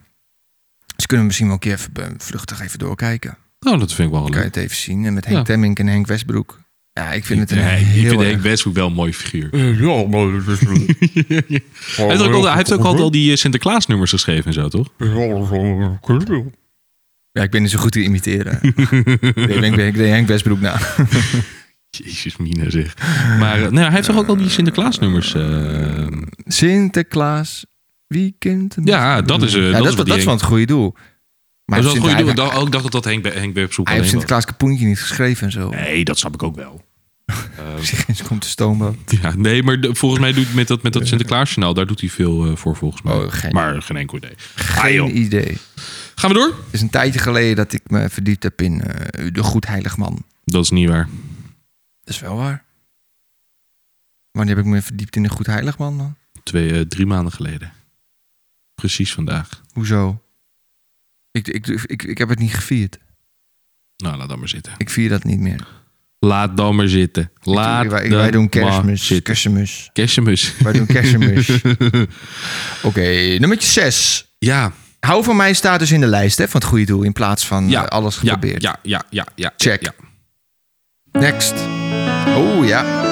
S3: Dus kunnen we misschien wel een keer even, eh, vluchtig even doorkijken.
S2: Nou, dat vind ik wel
S3: Kan je
S2: leuk.
S3: het even zien. En met Henk
S2: Ja.
S3: Temmink en Henk Westbroek. Ja, ik vind het een
S2: Nee, ik
S3: heel
S2: vind
S3: erg- Eh,
S2: Henk Westbroek wel een mooi figuur.
S3: Ja, maar dat is...
S2: hij heeft ook, al, hij heeft ook altijd al die eh, Sinterklaas-nummers geschreven en zo, toch?
S3: Ja, ik ben niet zo goed te imiteren. ik denk ik deed Henk Westbroek nou. na.
S2: Jezus, Mina zeg. Maar eh, nou, hij heeft toch ook al die Sinterklaas-nummers? eh,
S3: Sinterklaas, weekend...
S2: ja, dat is, eh,
S3: Ja,
S2: dat is
S3: dat,
S2: wat
S3: dat
S2: die
S3: is wel
S2: Henk-
S3: het goede doel. Maar
S2: dat is wel een goede doel.
S3: Sinter-
S2: Ik dacht-
S3: hij-
S2: oh, ik dacht dat dat Henk, Be- Henk Westbroek alleen
S3: Hij heeft
S2: was.
S3: Sinterklaas Kapoentje niet geschreven en zo.
S2: Nee, dat snap ik ook wel.
S3: Eens komt de stoomboot.
S2: Ja, nee, maar de- volgens mij doet met dat, met dat Sinterklaasjournaal, daar doet hij veel eh, voor volgens mij.
S3: Oh, geen-
S2: maar geen enkel idee. Ah,
S3: Geen
S2: joh.
S3: idee.
S2: Gaan we door?
S3: Het is een tijdje geleden dat ik me verdiept heb in eh, De Goed Heilig Man.
S2: Dat is niet waar.
S3: Dat is wel waar. Wanneer heb ik me verdiept in De Goed Heilig Man dan?
S2: Twee, eh, drie maanden geleden. Precies vandaag.
S3: Hoezo? Ik, ik, ik, ik heb het niet gevierd.
S2: Nou, laat dat maar zitten.
S3: Ik vier dat niet meer.
S2: Laat dan maar zitten. Laat
S3: wij, wij
S2: Ah, dan
S3: doen
S2: maar
S3: kerstmis.
S2: zitten.
S3: Kerstmis.
S2: Kerstmis.
S3: Wij doen kerstmis. Oké, nummertje 6.
S2: Ja,
S3: Hou van mij staat dus in de lijst hè, van het goede doel in plaats van
S2: ja.
S3: eh, alles
S2: ja,
S3: geprobeerd.
S2: Ja, ja, ja, ja.
S3: Check.
S2: Ja.
S3: Next. Oh ja.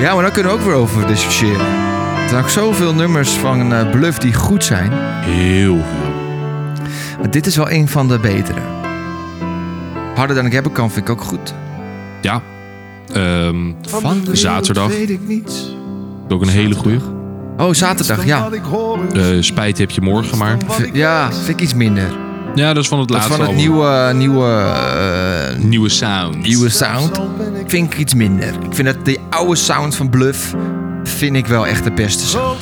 S3: Ja, maar daar kunnen we ook weer over discussiëren. Er zijn ook zoveel nummers van eh, Bluff die goed zijn.
S2: Heel veel.
S3: Maar dit is wel een van de betere. Harder dan ik hebben kan vind ik ook goed.
S2: Ja. Ehm,
S3: Van de
S2: Zaterdag.
S3: wereld weet ik niets.
S2: ook een hele goede.
S3: Oh, zaterdag, ja.
S2: spijt heb je morgen maar.
S3: V- Ja, vind ik iets minder.
S2: Ja, dat is van het
S3: Dat
S2: laatste
S3: van het
S2: album.
S3: nieuwe, nieuwe, eh,
S2: nieuwe sound.
S3: nieuwe sound vind ik iets minder. Ik vind dat de oude sound van Bluff vind ik wel echt de beste sound.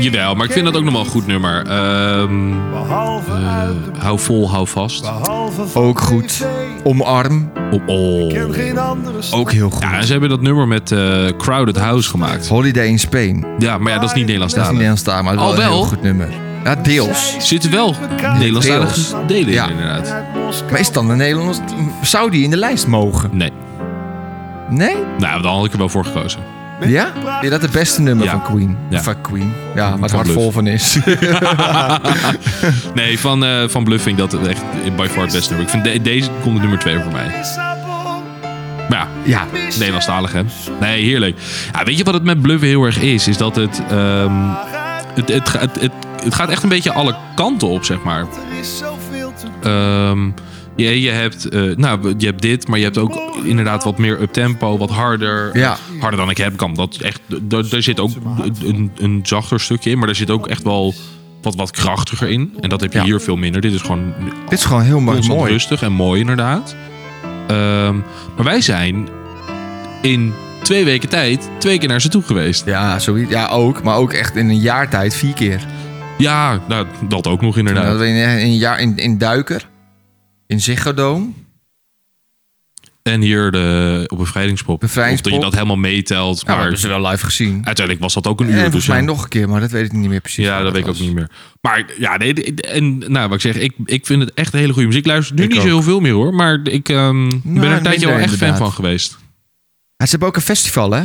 S2: Jawel, maar ik vind dat ook nog wel een goed nummer. Ehm,
S5: Behalve uit de
S2: eh, hou vol, hou vast.
S5: behalve van
S3: Ook goed. Omarm,
S2: Op
S5: En
S2: oh.
S5: geen andere stad.
S3: ook heel goed.
S2: Ja, en ze hebben dat nummer met eh, Crowded House gemaakt.
S3: Holiday in Spain. Dat
S2: Ja, maar ja, dat is niet
S3: is niet
S2: Nederlandstalig.
S3: Nederlands taal, maar wel
S2: Al
S3: een
S2: wel?
S3: heel goed nummer. Ja, deels.
S2: Er zitten wel Nederlandstalige delen in,
S3: Ja.
S2: inderdaad.
S3: Maar is het dan een Nederlands... Zou die in de lijst mogen?
S2: Nee,
S3: Nee?
S2: nou, dan had ik er wel voor gekozen.
S3: Ja? Vind je dat het beste nummer
S2: Ja.
S3: van Queen?
S2: Ja.
S3: Van Queen. Ja, waar het
S2: Van
S3: hart
S2: Bluff.
S3: vol van is.
S2: Nee, van, eh van Bluff vind ik dat echt by far het beste nummer. Ik vind de- deze komt op nummer 2 voor mij. Maar ja,
S3: ja.
S2: Nederlandstalig hè? Nee, heerlijk. Ja, weet je wat het met Bluff heel erg is? Is dat het, ehm, het, het, ga- het, het, het gaat echt een beetje alle kanten op, zeg maar.
S5: Er is zoveel te
S2: Ehm, Je, je, hebt, eh, nou, je hebt dit, maar je hebt ook inderdaad wat meer uptempo, wat harder.
S3: Ja.
S2: Harder dan ik heb kan. Dat echt, daar daar zit ook een, een zachter stukje in, maar daar zit ook echt wel wat, wat krachtiger in. En dat heb je
S3: Ja.
S2: hier veel minder. Dit is gewoon
S3: Dit is gewoon heel mooi.
S2: constant
S3: mooi.
S2: rustig en mooi inderdaad. Ehm, maar wij zijn in twee weken tijd twee keer naar ze toe geweest.
S3: Ja, zoiets. Ja, ook. Maar ook echt in een jaar tijd vier keer.
S2: Ja, nou, dat ook nog
S3: Dat
S2: inderdaad.
S3: we in, eh, in een jaar in, in Duiker, in Nou, Ziggo Dome.
S2: En hier de, op bevrijdingspop.
S3: Bevrijdingspop.
S2: Of dat je dat helemaal meetelt.
S3: Ja, maar
S2: Maar
S3: hebben ze wel live gezien.
S2: uiteindelijk was dat ook een
S3: En
S2: uur.
S3: volgens
S2: Dus
S3: mij
S2: ja.
S3: nog een keer, maar dat weet ik niet meer precies.
S2: Ja,
S3: wat
S2: dat weet ik ook
S3: was.
S2: niet meer. Maar ja, nee, de- de- en nou, wat ik zeg, ik, ik vind het echt hele goede muziek. Ik luister nu
S3: Ik
S2: niet zo
S3: ook. Nou,
S2: heel veel meer hoor, maar ik ehm, ben er een tijdje
S3: minder
S2: wel echt fan
S3: inderdaad.
S2: van geweest.
S3: Ja, ze hebben ook een festival, hè?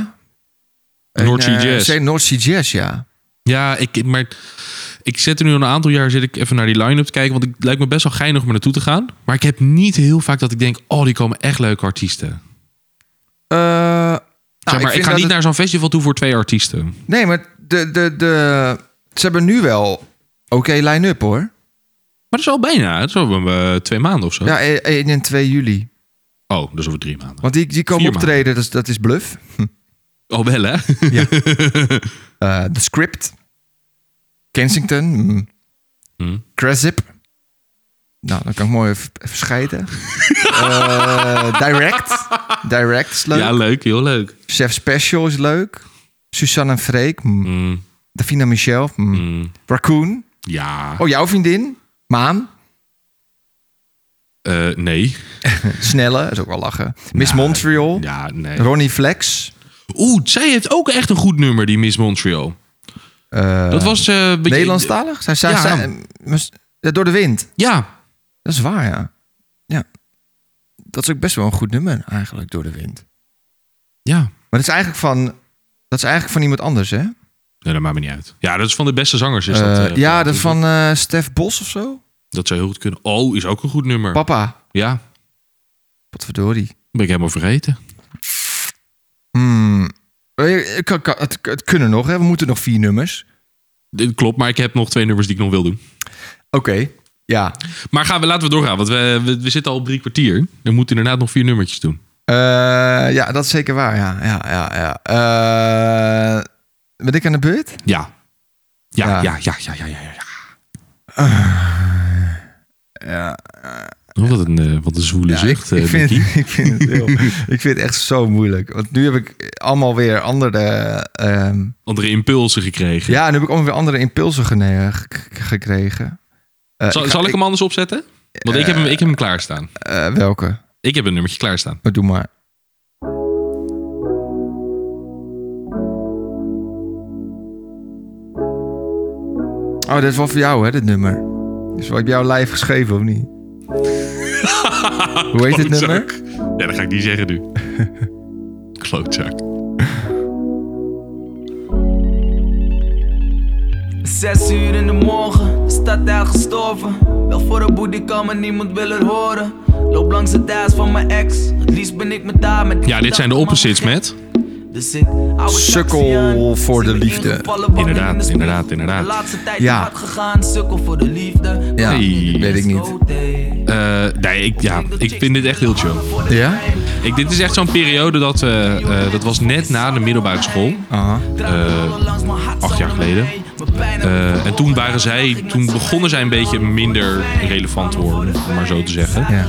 S2: North Sea Jazz.
S3: Zee- North Sea Jazz, ja.
S2: Ja, ik, maar ik zit er nu al een aantal jaar zit ik even naar die line-up te kijken, want het lijkt me best wel geinig om er naartoe te gaan. Maar ik heb niet heel vaak dat ik denk, oh, die komen echt leuke artiesten.
S3: Eh, nou,
S2: Zeg maar, ik,
S3: vind
S2: ga
S3: dat
S2: niet
S3: het-
S2: naar zo'n festival toe voor twee artiesten.
S3: Nee, maar de, de, de, ze hebben nu wel oké line-up, hoor.
S2: Maar dat is al bijna, dat is al eh, twee maanden of zo.
S3: Ja, 1 en 2 juli.
S2: Oh, dat is over drie maanden.
S3: Want die, die komen
S2: Vier
S3: optreden, dat is, dat is bluff.
S2: Oh, wel hè?
S3: Ja. Eh, The Script. Kensington. Mm.
S2: Hmm.
S3: Cresip. Nou, dan kan ik mooi even, even scheiden. Eh, direct. Direct is leuk.
S2: ja, leuk, heel leuk.
S3: Chef Special is leuk. Suzanne en Freek. mm.
S2: Mm,
S3: Davina Michel. mm.
S2: mm,
S3: Raccoon.
S2: ja,
S3: Oh, jouw vriendin. Maan.
S2: Eh, nee.
S3: Snelle. Dat is ook wel lachen. Miss
S2: Nou,
S3: Montreal.
S2: Ja, nee.
S3: Ronnie Flex.
S2: Oeh, zij heeft ook echt een goed nummer, die Miss Montreal.
S3: Eh,
S2: Dat was... eh, een beetje-
S3: Nederlandstalig? Zij, zij,
S2: Ja.
S3: zij- mis- ja, door de wind.
S2: Ja,
S3: Dat is waar, ja. Ja. Dat is ook best wel een goed nummer eigenlijk, Door de Wind.
S2: ja.
S3: Maar dat is eigenlijk van, dat is eigenlijk van iemand anders, hè?
S2: Nee, dat maakt me niet uit. Ja, dat is van de beste zangers. Is dat,
S3: Eh,
S2: eh,
S3: ja, dat is van eh, Stef Bos of zo.
S2: Dat zou heel goed kunnen. Oh, is ook een goed nummer.
S3: Papa.
S2: Ja, dat
S3: Potverdorie.
S2: ben ik helemaal vergeten.
S3: Hmm. Eh, eh, kan- kan- Het, het kunnen nog, hè? We moeten nog vier nummers.
S2: Dit Klopt, maar ik heb nog twee nummers die ik nog wil doen.
S3: Oké. Ja.
S2: Maar gaan we, laten we doorgaan, want we, we, we zitten al op drie kwartier. We moeten inderdaad nog vier nummertjes doen.
S3: Eh, ja, dat is zeker waar, ja. ja, ja, ja. Eh, ben ik aan de beurt?
S2: Ja. Ja,
S3: Ja.
S2: ja, ja, ja, ja, ja. ja. Oh, wat een, eh, wat een zwoele
S3: Eh, Ja,
S2: zucht,
S3: ik,
S2: eh,
S3: ik, vind,
S2: Mickey.
S3: ik, vind het heel, ik vind het echt zo moeilijk. Want nu heb ik allemaal weer andere... ehm,
S2: Andere impulsen gekregen.
S3: Ja, nu heb ik allemaal weer andere impulsen gene- g- g- gekregen. Eh,
S2: zal,
S3: ga-
S2: zal ik hem anders opzetten? Want ik, heb hem, ik heb hem klaarstaan.
S3: eh, welke?
S2: Ik heb een nummertje klaarstaan.
S3: Maar Doe maar. Oh, dat is wel voor jou, hè, dit nummer. Is wel op jouw lijf geschreven, of niet? Hoe heet het nummer?
S2: Ja, dat ga ik niet zeggen nu. Klootzak.
S7: 6 uur in de morgen, de stad daar gestorven. Wel voor de boedie kan, maar niemand wil het horen. Loop langs de thuis van mijn ex, het liefst ben ik met daar met
S2: Ja, dit zijn de opposites, met.
S7: Dus ik hou een
S3: Sukkel
S7: taxi aan,
S3: voor de
S7: zie me
S3: liefde.
S7: ingevallen, wangen in de
S2: Inderdaad,
S7: spiegel.
S2: inderdaad, inderdaad.
S7: De laatste tijd
S3: Ja.
S7: hard gegaan, sukkel voor de liefde.
S3: Ja,
S2: Hey.
S3: weet ik niet.
S2: Eh, nee, ik, ja, ik vind dit echt heel chill.
S3: Ja?
S2: Ik, dit is echt zo'n periode dat, eh, eh, dat was net na de middelbare school.
S3: Aha.
S2: Eh, acht jaar geleden. Eh, en toen waren zij, toen begonnen zij een beetje minder relevant te worden, om maar zo te zeggen.
S3: Ja.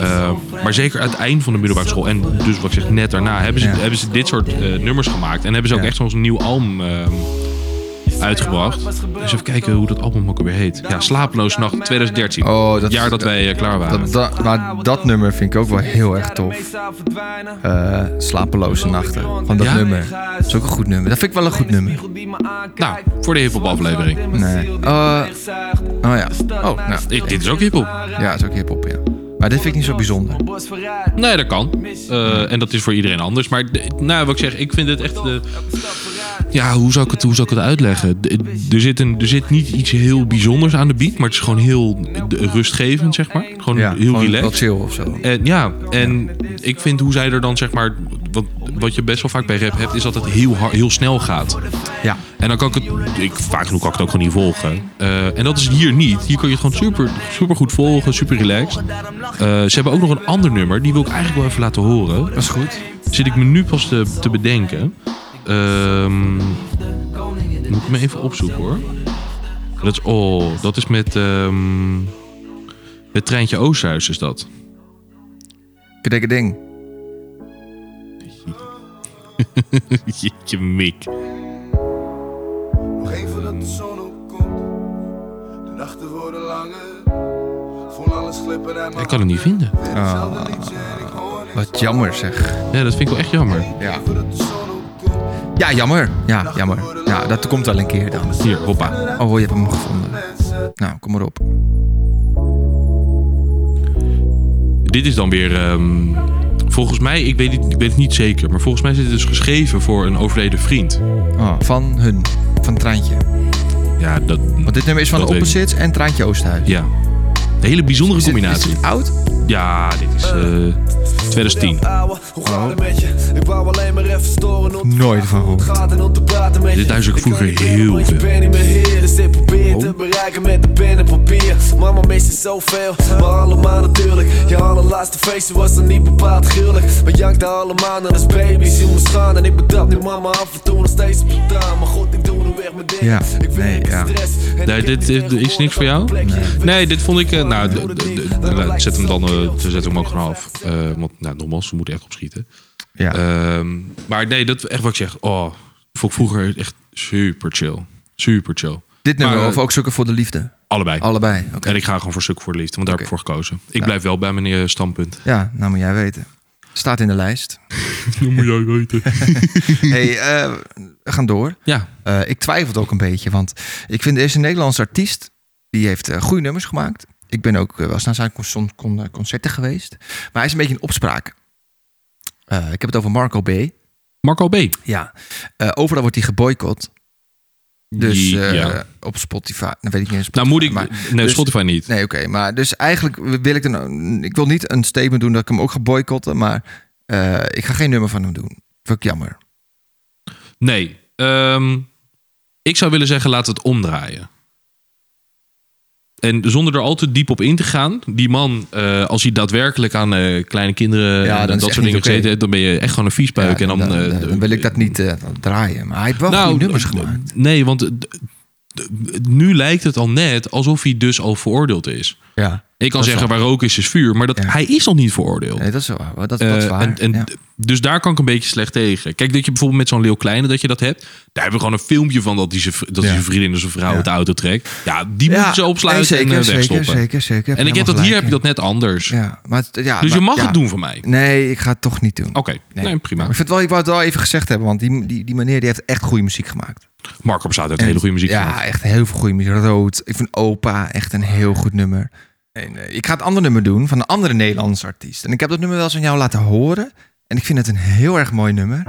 S2: Eh, maar zeker aan het eind van de middelbare school en dus wat ik zeg net daarna, hebben ze,
S3: Ja.
S2: hebben ze dit soort eh, nummers gemaakt. En hebben ze ook
S3: Ja.
S2: echt zo'n nieuw album eh, uitgebracht. Dus even kijken hoe dat album ook alweer heet. Ja, Slapeloos Nacht 2013.
S3: Oh, dat
S2: het
S3: is-
S2: jaar dat wij eh, klaar waren.
S3: Dat, dat, maar dat nummer vind ik ook wel heel erg tof. Eh, slapeloze nachten. Van dat
S2: Ja?
S3: nummer. Dat is ook een goed nummer. Dat vind ik wel een goed nummer. Oh
S2: Nou, voor de hiphop aflevering.
S3: Nee. Eh, oh ja. Oh, nou.
S2: Ik- dit is ook hiphop.
S3: Ja, het is ook hiphop, ja. Maar dit vind ik niet zo bijzonder.
S2: Nee, dat kan. Eh, en dat is voor iedereen anders. Maar de- nou, wat ik zeg, ik vind het echt... eh, ja, hoe zou ik het, hoe zou ik het uitleggen? D- Er zit, een, er zit niet iets heel bijzonders aan de beat, maar het is gewoon heel eh, rustgevend, zeg maar. Gewoon
S3: Ja,
S2: heel
S3: gewoon
S2: relaxed.
S3: Wat chill of zo.
S2: En, ja, en ik vind hoe zij er dan zeg maar. Wat, wat je best wel vaak bij rap hebt, is dat het heel, hard, heel snel gaat.
S3: Ja.
S2: En dan kan ik het. Ik, vaak genoeg kan ik het ook gewoon niet volgen. Eh, en dat is hier niet. Hier kan je het gewoon super, super goed volgen, super relaxed. Eh, ze hebben ook nog een ander nummer, die wil ik eigenlijk wel even laten horen.
S3: Dat is goed.
S2: Zit ik me nu pas te, te bedenken. Ehm, moet ik me even opzoeken hoor. Dat is, oh, dat is met. ehm, het treintje Oosterhuis is dat.
S3: Bedekken ding.
S2: Jeetje mik.
S5: Nog even dat de zon opkomt. De nachten worden langer. Voel alles glippen en
S2: Ik kan het niet vinden.
S5: Hetzelfde liedje en ik hoor niet.
S3: Ah. Wat jammer zeg.
S2: Ja, dat vind ik wel echt jammer.
S3: Ja.
S5: Even dat de zon opkomt.
S3: Ja, jammer. Ja, jammer. Ja, dat komt wel een keer dan.
S2: Hier, hoppa.
S3: Oh, je hebt hem gevonden. Nou, kom maar op.
S2: Dit is dan weer... ehm, volgens mij, ik weet, het, ik weet het niet zeker... maar volgens mij is dit dus geschreven voor een overleden vriend.
S3: Oh, van hun. Van Traantje.
S2: Ja, dat...
S3: Want dit nummer is van
S2: Dat
S3: de
S2: weet ik
S3: Opposites en Traantje Oosterhuis.
S2: Ja. Een hele bijzondere
S3: Is dit-
S2: combinatie.
S3: Is dit oud?
S2: Ja, dit is eh 2010.
S5: Ouwe, hoe gaat
S2: Eh,
S5: het met je? Ik wou alleen maar even storen om te
S3: Nooit van gehoord.
S5: praten en om te praten met je.
S2: Dit luister ik vroeger
S5: kan niet
S2: heel
S5: meer, want
S2: veel. Oh.
S5: Je bent niet meer hier, dus ik probeer te bereiken met de pen en papier. Mama mist je zoveel, maar allemaal natuurlijk. Je allerlaatste feestje was dan niet bepaald gruwelijk. We jankten allemaal naar als baby's in ons gaan. En ik betrap nu mama af en toe nog steeds op de taal. Maar goed, ik doe nu weg mijn ding.
S3: Ja,
S5: Ik
S3: nee,
S5: werk in
S3: ja.
S5: stress. En
S2: Nee,
S5: ik heb
S2: dit
S5: niet
S2: is-
S5: echt
S2: is niks voor jou?
S5: gehoord op een plekje.
S2: Nee, dit vond ik... eh, nou, d- d- d- nou, zet hem dan... eh, zet hem ook gewoon af. Eh, want, nou, nogmaals, we moeten echt opschieten.
S3: Ja.
S2: Ehm, maar nee, dat echt wat ik zeg. Oh, vond ik vroeger echt super chill. Super chill.
S3: dit nummer
S2: maar, eh,
S3: of ook Sukken voor de Liefde?
S2: Allebei.
S3: Allebei. Oké.
S2: En ik ga gewoon voor stuk voor de liefde, want daar heb ik voor gekozen.
S3: Nou.
S2: Ik blijf wel bij mijn eh, standpunt.
S3: Ja, nou moet jij weten. Staat in de lijst.
S2: Dat moet jij weten.
S3: hey, eh, we gaan door.
S2: Ja,
S3: Eh, ik twijfelde ook een beetje, want ik vind deze Nederlandse artiest, die heeft eh, goede nummers gemaakt. Ik ben ook eh, wel eens naar zijn con- con- concerten geweest. Maar hij is een beetje in opspraak. Eh, ik heb het over Marco B.
S2: Marco B.
S3: Ja. Eh, overal wordt hij geboycott. Dus
S2: Die-
S3: eh,
S2: ja.
S3: op Spotify, dan weet ik niet eens.
S2: Nou moet ik... nee,
S3: dus-
S2: Spotify niet.
S3: Nee, oké. maar dus eigenlijk wil ik dan... Ik wil niet een statement doen dat ik hem ook ga boycotten. Maar eh, ik ga geen nummer van hem doen. Vind ik jammer.
S2: Nee. Ehm, ik zou willen zeggen, laat het omdraaien. En zonder er al te diep op in te gaan. Die man, eh, als hij daadwerkelijk aan eh, kleine kinderen
S3: Ja,
S2: en
S3: dan is
S2: dat
S3: echt
S2: soort dingen
S3: niet oké.
S2: gezeten heeft, dan ben je echt gewoon een viespuik.
S3: Ja,
S2: en dan, eh, Nou,
S3: dan wil ik dat niet eh, draaien. Maar hij heeft wel goede nummers
S2: d-
S3: gemaakt.
S2: Nee, want eh, d- d- nu lijkt het al net alsof hij dus al veroordeeld is.
S3: Ja.
S2: Ik kan
S3: Dat is
S2: zeggen, waar rook is, is vuur. Maar dat,
S3: Ja.
S2: hij is nog niet veroordeeld.
S3: Nee, dat is waar. Dat, dat is
S2: Eh,
S3: waar.
S2: en, en
S3: ja.
S2: d- Dus daar kan ik een beetje slecht tegen. Kijk, dat je bijvoorbeeld met zo'n Leeuw Kleine dat je dat hebt. Daar hebben we gewoon een filmpje van dat hij zijn, v- dat hij
S3: Ja.
S2: zijn vriendin en zijn vrouw uit de auto trekt. Ja, die
S3: Ja,
S2: moeten ze opsluiten
S3: nee, zeker,
S2: en eh,
S3: zeker,
S2: wegstoppen.
S3: zeker, zeker. Heb
S2: En ik
S3: je
S2: heb dat
S3: helemaal
S2: hier
S3: gelijk
S2: heb je dat net anders.
S3: Ja, maar het- ja,
S2: dus je
S3: maar-
S2: mag
S3: ja.
S2: het doen voor mij. Oké,
S3: Nee, ik ga het toch niet doen.
S2: nee. prima.
S3: Maar ik, vind wel, ik wou het wel even gezegd hebben, want die, die, die meneer die heeft echt goede muziek gemaakt.
S2: Marco Bsaat heeft hele goede muziek
S3: Ja,
S2: gemaakt.
S3: echt heel veel goede muziek. Rood. Ik vind Opa echt een heel goed nummer. En, eh, ik ga het andere nummer doen van een andere Nederlandse artiest. En ik heb dat nummer wel eens aan jou laten horen. En ik vind het een heel erg mooi nummer.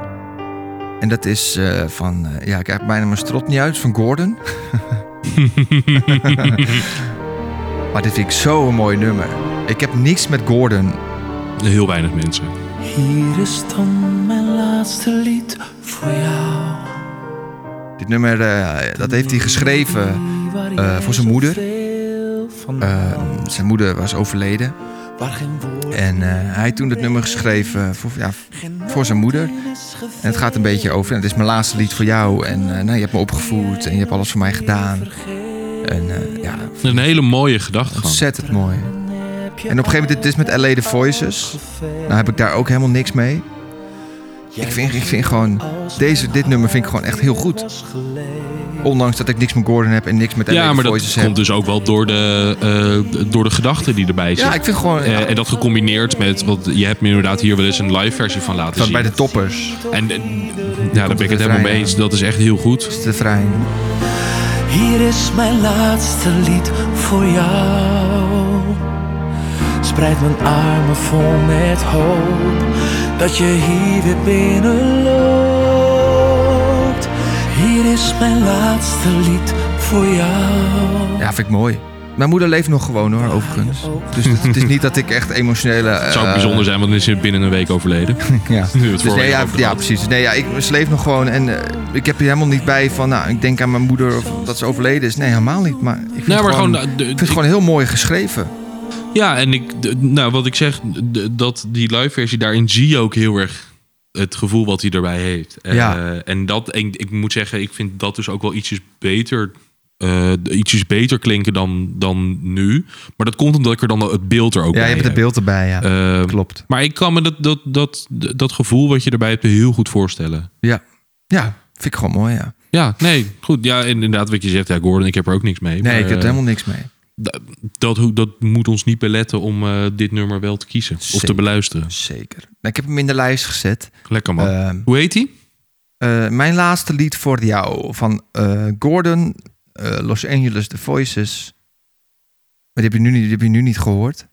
S3: En dat is eh, van... eh, ja, ik heb bijna mijn strot niet uit. Van Gordon. maar dit vind ik zo'n mooi nummer. Ik heb niks met Gordon.
S2: Heel weinig mensen.
S6: Hier is dan mijn laatste lied voor jou.
S3: Dit nummer, eh, dat heeft hij geschreven
S6: Waar
S3: eh, voor zijn moeder.
S6: veel van
S3: Eh, zijn moeder was overleden.
S6: waar geen woord
S3: En eh, hij heeft toen het nummer geschreven voor, ja, voor zijn moeder. En het gaat een beetje over, nou, dit is mijn laatste lied voor jou. En eh, nou, je hebt me opgevoed en je hebt alles voor mij gedaan. En eh, ja,
S2: Een hele mooie gedachte. gewoon.
S3: ontzettend mooi. En op een gegeven moment, dit is met LA The Voices. Nou heb ik daar ook helemaal niks mee. Ik vind, ik vind gewoon, deze, dit nummer vind ik gewoon echt heel goed. Ondanks dat ik niks met Gordon heb en niks met LA
S2: Ja,
S3: The
S2: maar dat
S3: Voices
S2: komt
S3: heb.
S2: dus ook wel door de, eh, door de gedachten die erbij zitten.
S3: Ja, ik vind gewoon,
S2: Eh, en dat gecombineerd met, want je hebt me inderdaad hier wel eens een live versie van laten
S3: van
S2: zien.
S3: bij de toppers,
S2: En eh, ja, daar ben ik het
S3: de
S2: helemaal mee
S3: trein,
S2: eens. Dat is echt heel goed.
S3: is de trein.
S6: Hier is mijn laatste lied voor jou. Spreid mijn armen vol met hoop dat je hier weer binnenloopt.
S8: Hier is mijn laatste lied voor jou.
S3: Ja, vind ik mooi. Mijn moeder leeft nog gewoon hoor, overigens. Dus het, het is niet dat ik echt emotionele... eh,
S2: zou ook bijzonder zijn, want dan is hij binnen een week overleden.
S3: Ja,
S2: Nu we het
S3: dus
S2: vorige
S3: nee,
S2: keer
S3: ja,
S2: over
S3: ja
S2: hadden.
S3: precies. Nee, ja, ik, ze leeft nog gewoon en eh, ik heb er helemaal niet bij van... Nou, ik denk aan mijn moeder of dat ze overleden is. Nee, helemaal niet. Maar ik vind,
S2: Nee, maar
S3: het, gewoon,
S2: gewoon...
S3: ik
S2: de-
S3: vind
S2: de-
S3: het gewoon heel mooi geschreven.
S2: Ja, en ik, d- nou, wat ik zeg, d- dat die live versie daarin zie je ook heel erg het gevoel wat hij erbij heeft. Eh,
S3: Ja.
S2: en dat, en ik moet zeggen, ik vind dat dus ook wel ietsjes beter, eh, ietsjes beter klinken dan, dan nu. Maar dat komt omdat ik er dan het beeld er ook
S3: Ja, je
S2: bij
S3: hebt het
S2: heb.
S3: beeld erbij, ja.
S2: Eh,
S3: Klopt.
S2: maar ik kan me dat, dat, dat, dat gevoel wat je erbij hebt heel goed voorstellen.
S3: Ja. ja, vind ik gewoon mooi, ja.
S2: Ja, nee, goed. Ja, inderdaad wat je zegt. Ja, Gordon, ik heb er ook niks mee.
S3: Nee,
S2: maar,
S3: ik heb er
S2: eh,
S3: helemaal niks mee.
S2: dat, dat, ho- dat moet ons niet beletten om eh, dit nummer wel te kiezen. Of te
S3: Zeker.
S2: beluisteren.
S3: Zeker. Nou, ik heb hem in de lijst gezet.
S2: Lekker man.
S3: Ehm,
S2: Hoe heet hij?
S3: eh, mijn laatste lied voor jou van eh, Gordon, eh, Los Angeles The Voices. Maar die heb je nu niet, die heb je nu niet gehoord.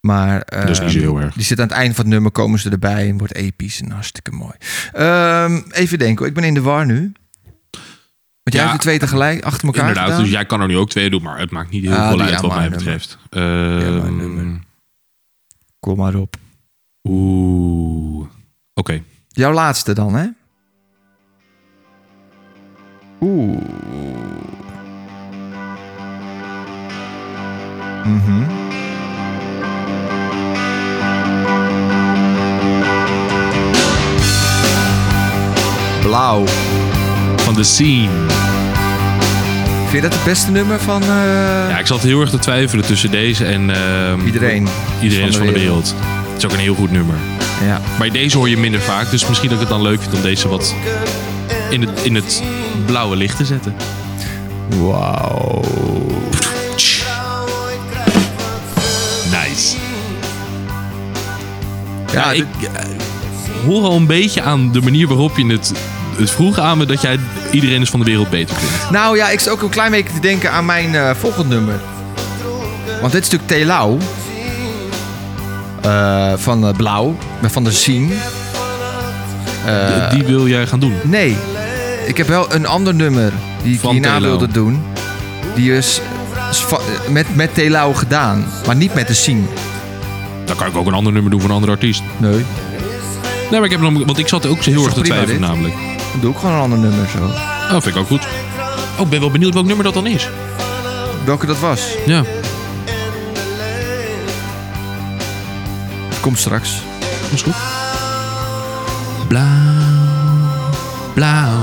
S3: Maar eh,
S2: Dat is niet zo heel erg.
S3: die zit aan het einde van het nummer, komen ze erbij en wordt episch en hartstikke mooi. Ehm, even denken, hoor, ik ben in de war nu. Want jij
S2: Ja,
S3: hebt de twee tegelijk achter elkaar
S2: Inderdaad,
S3: gedaan?
S2: dus jij kan er nu ook twee doen, maar het maakt niet heel
S3: Ah,
S2: veel
S3: die
S2: uit wat
S3: Yamaha
S2: mij
S3: nummer.
S2: betreft.
S3: Yamaha
S2: Ehm,
S3: nummer. Kom maar op.
S2: Oeh. Oké.
S3: Jouw laatste dan, hè? Oeh. Mhm. Blauw.
S2: Van de scene.
S3: Vind je dat het beste nummer van eh,
S2: Ja, ik zat heel erg te twijfelen tussen deze en... ehm,
S3: iedereen?
S2: Iedereen is van de wereld. Het is ook een heel goed nummer.
S3: Ja.
S2: Maar deze hoor je minder vaak, dus misschien dat ik het dan leuk vind om deze wat in het, in het blauwe licht te zetten.
S3: Wauw.
S2: Nice.
S3: Ja,
S2: Ja,
S3: dit-
S2: ik eh, hoor al een beetje aan de manier waarop je het, het vroeg aan me dat jij iedereen is van de wereld beter vindt.
S3: Nou ja, ik zit ook een klein beetje te denken aan mijn eh, volgend nummer. Want dit is natuurlijk Telau. Eh, van eh, Blauw. maar Van de Sien.
S2: De- Die wil jij gaan doen.
S3: Nee, ik heb wel een ander nummer die ik
S2: Van
S3: hierna
S2: Telau.
S3: wilde doen. Die is, is va- eh, met, met Telau gedaan. Maar niet met de Sien.
S2: Dan kan ik ook een ander nummer doen van een andere artiest.
S3: Nee.
S2: Nee, maar ik heb hem, want ik zat ook heel
S3: toch
S2: erg te
S3: prima,
S2: twijfelen
S3: dit?
S2: namelijk.
S3: Dan doe ik gewoon een ander nummer zo.
S2: Oh, vind ik ook goed. Oh, ik ben wel benieuwd welk nummer dat dan is.
S3: Welke dat was?
S2: Ja.
S3: Komt straks.
S2: Dat is goed. Blauw. Blauw.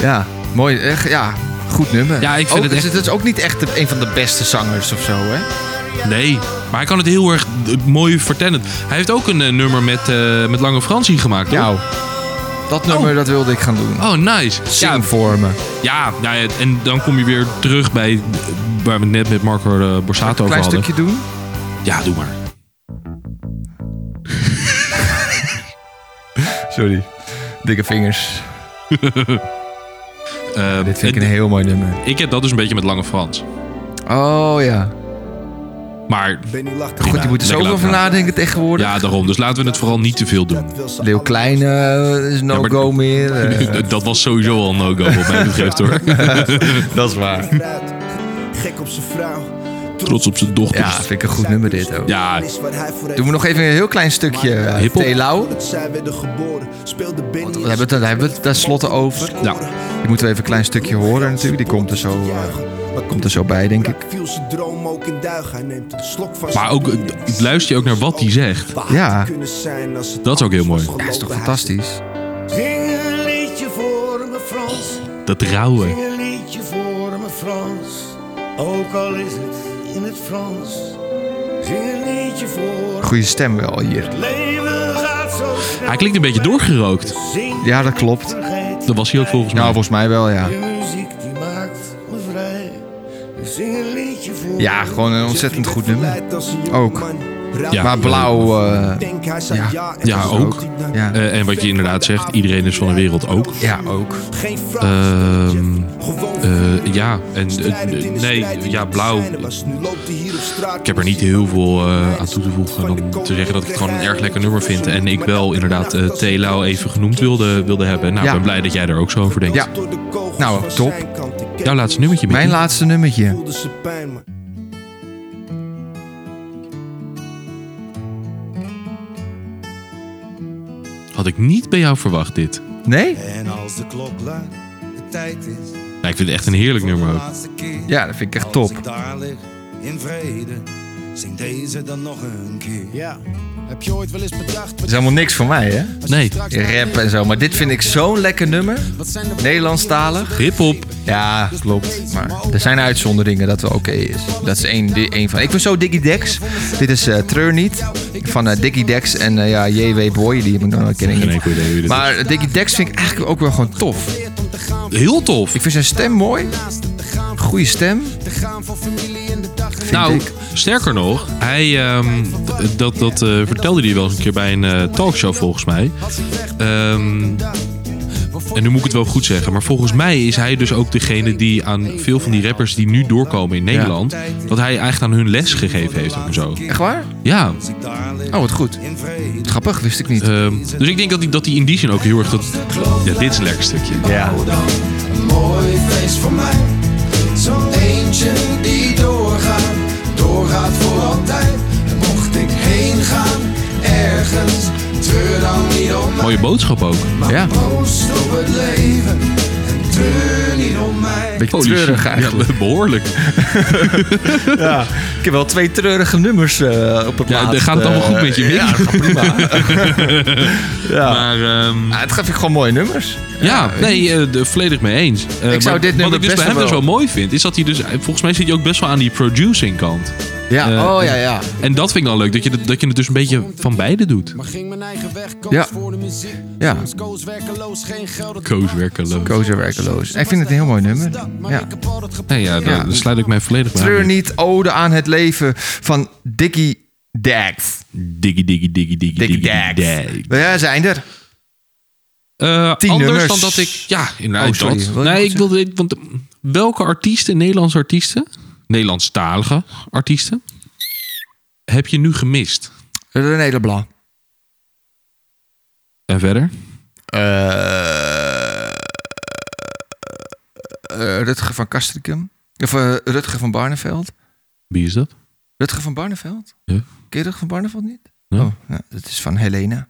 S3: Ja, mooi. Echt, ja, goed nummer.
S2: Ja, ik vind
S3: Ook-
S2: het echt-
S3: Het is ook niet echt de- een van de beste zangers of zo, hè?
S2: Nee, maar hij kan het heel erg eh, mooi vertellen. Hij heeft ook een eh, nummer met, eh, met Lange Fransie gemaakt, toch?
S3: Nou, dat nummer dat wilde ik gaan doen.
S2: Oh, nice. Ja,
S3: Zing voor me.
S2: ja, nou ja, en dan kom je weer terug bij eh, waar we het net met Marco eh, Borsato over
S3: Klein
S2: hadden.
S3: stukje doen.
S2: Ja, doe maar.
S3: Sorry. Dikke vingers.
S2: Eh,
S3: Dit vind ik
S2: en-
S3: een heel mooi nummer.
S2: ik heb dat dus een beetje met Lange Frans.
S3: Oh ja.
S2: Maar
S3: Goed, je moet er
S2: Lekker
S3: zoveel
S2: laten gaan.
S3: van nadenken tegenwoordig.
S2: ja, daarom. Dus laten we het vooral niet te veel doen.
S3: Leeuw Klein eh, is
S2: Ja, maar-
S3: no-go meer. eh.
S2: Dat was sowieso al een no-go wat mij betreft hoor.
S3: dat is waar.
S5: Gek op zijn vrouw.
S2: Trots op zijn dochter.
S3: Ja, vind ik een goed nummer dit ook.
S2: Ja,
S3: Doen we nog even een heel klein stukje eh,
S2: Hiphop.
S3: Telau.
S5: Dat zij werden geboren. Speelde binnen.
S3: We hebben het, daar hebben we het tenslotte over.
S2: Ja.
S3: Die moeten we even een klein stukje horen natuurlijk. Die komt er zo, eh, komt er zo bij, denk ik.
S5: Viel zijn droom ook in duigen. Hij neemt een slok van
S2: maar ook, eh, d- luister je ook naar wat hij zegt.
S3: Ja.
S2: Dat is ook heel mooi.
S5: Ja,
S3: Dat is toch fantastisch?
S8: Zing een liedje voor me, Frans.
S2: Dat rauwe.
S8: Zing een liedje voor me, Frans. Ook al is het in het Frans. Zing een liedje voor me.
S3: Goede stem wel hier.
S8: Leven gaat zo snel.
S2: Hij klinkt een beetje doorgerookt.
S8: Zing
S3: Ja, dat klopt.
S8: vergeet
S2: Dat was hij ook volgens mij.
S3: Nou, volgens mij wel, ja.
S8: De muziek die maakt me vrij. Zing een liedje voor
S3: Ja,
S8: me.
S3: gewoon een ontzettend goed nummer. Ook.
S2: Ja.
S3: Maar blauw, eh,
S8: Denk hij zei
S3: Ja.
S8: ja.
S2: Ja,
S8: en
S2: ook.
S8: zo.
S3: Ja.
S2: Eh, en wat je inderdaad zegt, iedereen is van de wereld ook.
S3: ja, ook.
S8: Geen vraag.
S2: Ehm,
S8: Gewoon
S2: eh, ja, en eh,
S8: strijdend in de
S2: nee,
S8: strijd die
S2: ja,
S8: niet
S2: blauw.
S8: zijn was. Nu loopt hij hier op straat.
S2: Ik heb er niet heel veel eh, aan toe te voegen dan te zeggen dat ik het gewoon een erg lekker nummer vind. En ik wel inderdaad eh Telau even genoemd wilde, wilde hebben. Nou, ik
S3: Ja.
S2: ben blij dat jij er ook zo over denkt.
S3: Ja.
S8: Door de kogels
S3: Nou,
S8: van
S3: top.
S8: zijn kant. Ik heb-
S2: Jouw laatste nummertje,
S3: Mijn
S2: Mickey.
S3: laatste nummertje.
S8: voelde ze pijn, maar
S2: Had ik niet bij jou verwacht dit.
S3: Nee?
S9: En als de klok laat, de tijd is.
S2: Nou, ik vind het echt een heerlijk nummer ook.
S3: Ja, dat vind ik echt top.
S9: Als ik daar lig in vrede, zing deze dan nog een keer.
S10: Ja, heb je ooit wel eens bedacht
S3: Dat is helemaal niks voor mij, hè?
S2: Nee,
S3: Rap en zo. Maar dit vind ik zo'n lekker nummer.
S10: wat zijn de
S3: Nederlandstalig.
S2: grip op.
S3: Ja, klopt. Maar er zijn uitzonderingen dat wel oké is. Dat is één, di- één van. Ik vind zo Diggy Dex. Dit is eh Treur Niet van eh Diggy Dex en eh, ja, JW Boy. Die heb ik nog nooit ken ik
S2: Geen
S3: niet.
S2: enkel idee wie dit
S3: Maar Diggy Dex vind ik eigenlijk ook wel gewoon tof.
S2: is. Heel tof.
S3: Ik vind zijn stem mooi. Goede stem. Vind
S2: Nou,
S3: ik.
S2: sterker nog, hij, ehm, d- dat, dat eh, vertelde hij wel eens een keer bij een eh, talkshow volgens mij. Ehm, en nu moet ik het wel goed zeggen, maar volgens mij is hij dus ook degene die aan veel van die rappers die nu doorkomen in Nederland, dat hij eigenlijk aan hun les gegeven heeft ook en zo.
S3: Echt waar?
S2: Ja,
S3: Oh, wat goed. Grappig, wist ik niet.
S2: ehm, dus ik denk dat hij, dat hij in die zin ook heel erg dat... Ja, dit is een lekker stukje.
S3: ja.
S9: Een mooi feest voor mij. Zo'n eentje die doorgaat, doorgaat voor altijd. En mocht ik heen gaan, ergens, treur dan niet om mij.
S2: Mooie boodschap ook.
S3: Ja,
S9: Proost op het leven en treur niet om mij.
S3: beetje
S2: Holy shit.
S3: treurig eigenlijk.
S2: Ja, behoorlijk.
S3: Ik heb wel twee treurige nummers eh, op het
S2: Ja,
S3: laatst,
S2: gaat het allemaal
S3: eh,
S2: goed met je, Mick?
S3: Ja, dat gaat prima. ja.
S2: Maar ehm,
S3: Ja, het gaat vind ik gewoon mooie nummers.
S2: Ja, nee, eh, de- volledig mee eens. Eh,
S3: Ik zou
S2: maar
S3: dit
S2: Wat
S3: nummer
S2: ik dus
S3: best
S2: bij hem
S3: wel-
S2: dus wel mooi vind, is dat hij dus... eh, Volgens mij zit hij ook best wel aan die producing kant.
S3: Ja,
S2: Eh,
S3: oh ja, ja.
S2: En dat vind ik dan leuk, dat je, dat- dat je het dus een beetje van beide doet.
S10: Maar ging mijn eigen weg, koos
S3: Ja.
S10: voor de muziek.
S3: Ja.
S10: Soms koos werkeloos, geen geld. het
S2: Koos
S10: was-
S2: werkeloos.
S3: Kozer werkeloos. Ik vind het een heel mooi nummer.
S10: Maar
S3: Ja.
S10: ik heb al dat
S2: Nee, ja, daar,
S3: Ja.
S2: daar sluit ik mij volledig bij
S3: Treur
S2: aan.
S3: niet, ode aan het leven van Dickie Dax.
S2: Diggy, diggy, diggy, diggy,
S3: Dickie
S2: diggy,
S3: Dax.
S2: diggy.
S3: Ja, zijn er.
S2: Eh,
S3: Tien
S2: Anders
S3: nummers.
S2: dan dat ik... Ja, inderdaad.
S3: Oh, sorry.
S2: dat.
S3: Wil je nog
S2: Nee,
S3: wat
S2: ik wilde... ik- Want eh, welke artiesten, Nederlandse artiesten... Nederlandstalige artiesten... heb je nu gemist?
S3: René Leblanc.
S2: En verder?
S3: Eh, eh, Rutger van Kastrikum. Of eh, Rutger van Barneveld.
S2: Wie is dat?
S3: Rutger van Barneveld?
S2: Ja.
S3: Ken je Rutger van Barneveld niet?
S2: Nee.
S3: Oh, ja, dat is van Helena.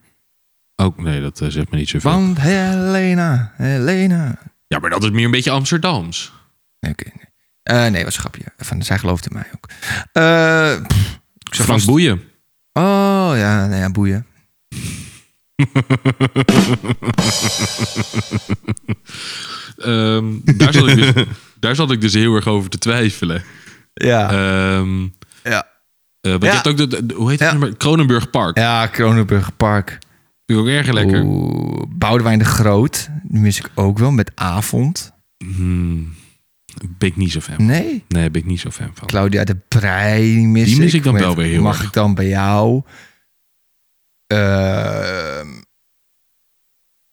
S2: Ook, nee, dat eh, zegt me niet zoveel.
S3: Van Helena. Helena.
S2: Ja, maar dat is meer een beetje Amsterdams.
S3: Nee, oké. nee. Eh, nee, was een grapje. Van, zij geloofde in mij ook. Eh, pff, ik zou
S2: Frank
S3: vast-
S2: Boeien.
S3: Oh, ja, nee, ja, boeien.
S2: Ehm, daar, zat ik dus, daar zat ik dus heel erg over te twijfelen.
S3: Ja.
S2: Ehm
S3: Ja.
S2: eh, want
S3: Ja.
S2: je hebt ook de, de- hoe heet het
S3: Ja.
S2: nummer? Kronenburg Park.
S3: ja, Kronenburg Park.
S2: Vind ik ook erg lekker.
S3: Oeh, Boudewijn de Groot. Die mis ik ook wel met Avond.
S2: Hmm, ben ik niet zo fan van.
S3: Nee.
S2: Nee, ben ik niet zo fan van.
S3: Claudia de Breij die mis
S2: Die mis ik dan
S3: met
S2: wel weer heel
S3: Mag
S2: erg.
S3: ik dan bij jou? Ehm,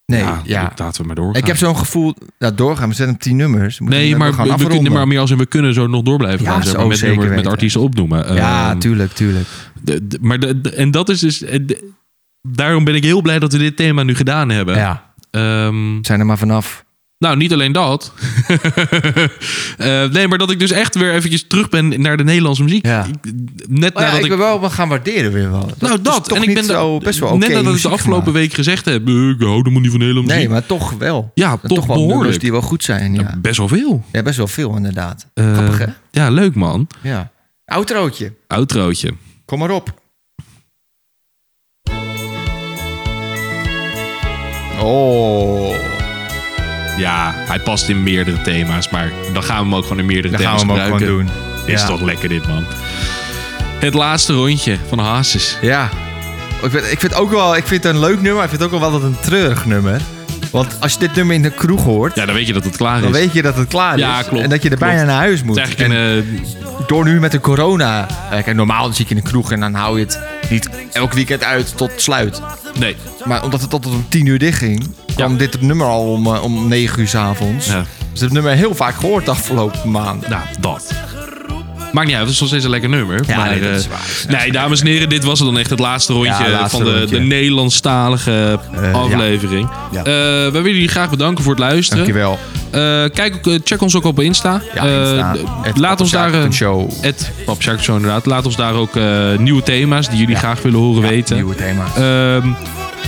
S3: nee, ja.
S2: dat- Nou, Laten we maar doorgaan.
S3: Ik heb zo'n gevoel... Nou, doorgaan. We zetten hem tien nummers. We moeten
S2: Ah. nee,
S3: hem
S2: maar
S3: gewoon
S2: we, we kunnen,
S3: afronden.
S2: maar meer als in we kunnen zo nog door blijven
S3: Ja,
S2: gaan. Zeg
S3: zo
S2: maar, met,
S3: zeker
S2: nummers, met
S3: weten.
S2: artiesten opnoemen.
S3: Ja,
S2: Ehm,
S3: tuurlijk, tuurlijk.
S2: de- de- maar de- de- en dat is dus... eh, de- daarom ben ik heel blij dat we dit thema nu gedaan hebben.
S3: Ja,
S2: Ehm,
S3: we zijn er maar vanaf.
S2: Nou, niet alleen dat. Eh, nee, maar dat ik dus echt weer eventjes terug ben naar de Nederlandse muziek.
S3: Ja.
S2: Ik- Net
S3: Maar ja,
S2: nadat
S3: ik
S2: ik...
S3: wil wel wat gaan waarderen weer wel.
S2: nou,
S3: is
S2: dat.
S3: toch
S2: en ik
S3: niet
S2: ben da-
S3: zo best wel oké.
S2: Net nadat ik de
S3: muziek
S2: afgelopen
S3: gemaakt.
S2: week gezegd heb... eh, Ik hou helemaal niet van de Nederlandse
S3: Nee,
S2: muziek.
S3: maar toch wel.
S2: Ja,
S3: Er zijn
S2: toch
S3: wel nummers
S2: behoorlijk.
S3: die wel goed zijn, ja.
S2: Best wel veel.
S3: Ja, best wel veel inderdaad.
S2: Eh,
S3: Grappig, hè?
S2: Ja, leuk man.
S3: Ja. Outrootje.
S2: Outrootje.
S3: Kom maar op. Oh.
S2: Ja, hij past in meerdere thema's. Maar dan gaan we hem ook gewoon in meerdere
S3: Dan gaan we
S2: thema's
S3: hem ook
S2: gebruiken.
S3: gewoon doen.
S2: Is
S3: Ja.
S2: toch lekker dit, man. Het laatste rondje van Hazes.
S3: Ja. Ik vind, ik vind ook wel, ik vind het een leuk nummer, maar ik vind het ook wel wat een treurig nummer. Want als je dit nummer in de kroeg hoort,
S2: Ja, dan weet je dat het klaar is.
S3: dan weet je dat het klaar
S2: Ja,
S3: is.
S2: klopt,
S3: En dat je er
S2: klopt.
S3: bijna naar huis moet.
S2: Het is eigenlijk een... eh,
S3: Door nu met de corona. eh, Kijk, normaal zie ik in de kroeg en dan hou je het niet elk weekend uit tot sluit.
S2: eh, Nee.
S3: Maar omdat het tot om tien uur dicht ging, kwam dit het nummer al om, eh, om negen uur s'avonds.
S2: Ja.
S3: Dus ik heb het nummer heel vaak gehoord de afgelopen maanden.
S2: Nou, dat. Maakt niet uit, het is nog steeds een lekker nummer.
S3: Ja,
S2: maar,
S3: nee, dat is
S2: eh,
S3: waar. Dat is
S2: nee, dames en heren, dit was dan echt het laatste rondje
S3: Ja, laatste
S2: van de,
S3: rondje. Eh,
S2: de Nederlandstalige aflevering.
S3: ja.
S2: Eh, we willen jullie graag bedanken voor het luisteren.
S3: Dankjewel.
S2: Eh, kijk, ook, eh, check ons ook op Insta.
S3: Ja, Insta.
S2: Eh,
S3: Het
S2: laat ons daar. eh,
S3: Show.
S2: Het Papsjaak Show, inderdaad. Laat ons daar ook eh, nieuwe thema's die jullie graag willen horen weten.
S3: nieuwe thema's.
S2: Ehm,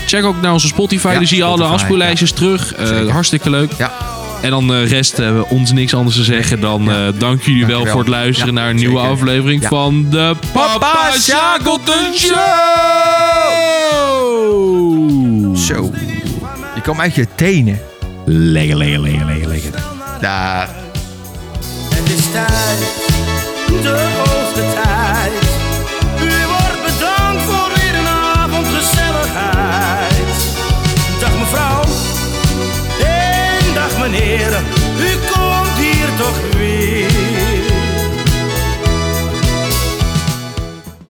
S2: check ook naar onze Spotify.
S3: Ja,
S2: daar zie je alle
S3: Spotify,
S2: afspeellijstjes terug. Eh, hartstikke leuk. En dan eh, rest eh, ons niks anders te zeggen dan eh, dank jullie wel
S3: Dankjewel.
S2: voor het luisteren
S3: Ja,
S2: naar een nieuwe
S3: zeker.
S2: aflevering
S3: Ja.
S2: van de Papa Shackleton Show!
S3: Zo. Je kwam uit je tenen.
S2: Lekker, lekker, lekker, lekker, lekker.
S3: Daar.
S5: Het is tijd, de hoogste tijd. U wordt bedankt voor weer een avond gezelligheid. Dag mevrouw, en dag meneer, u komt hier toch weer.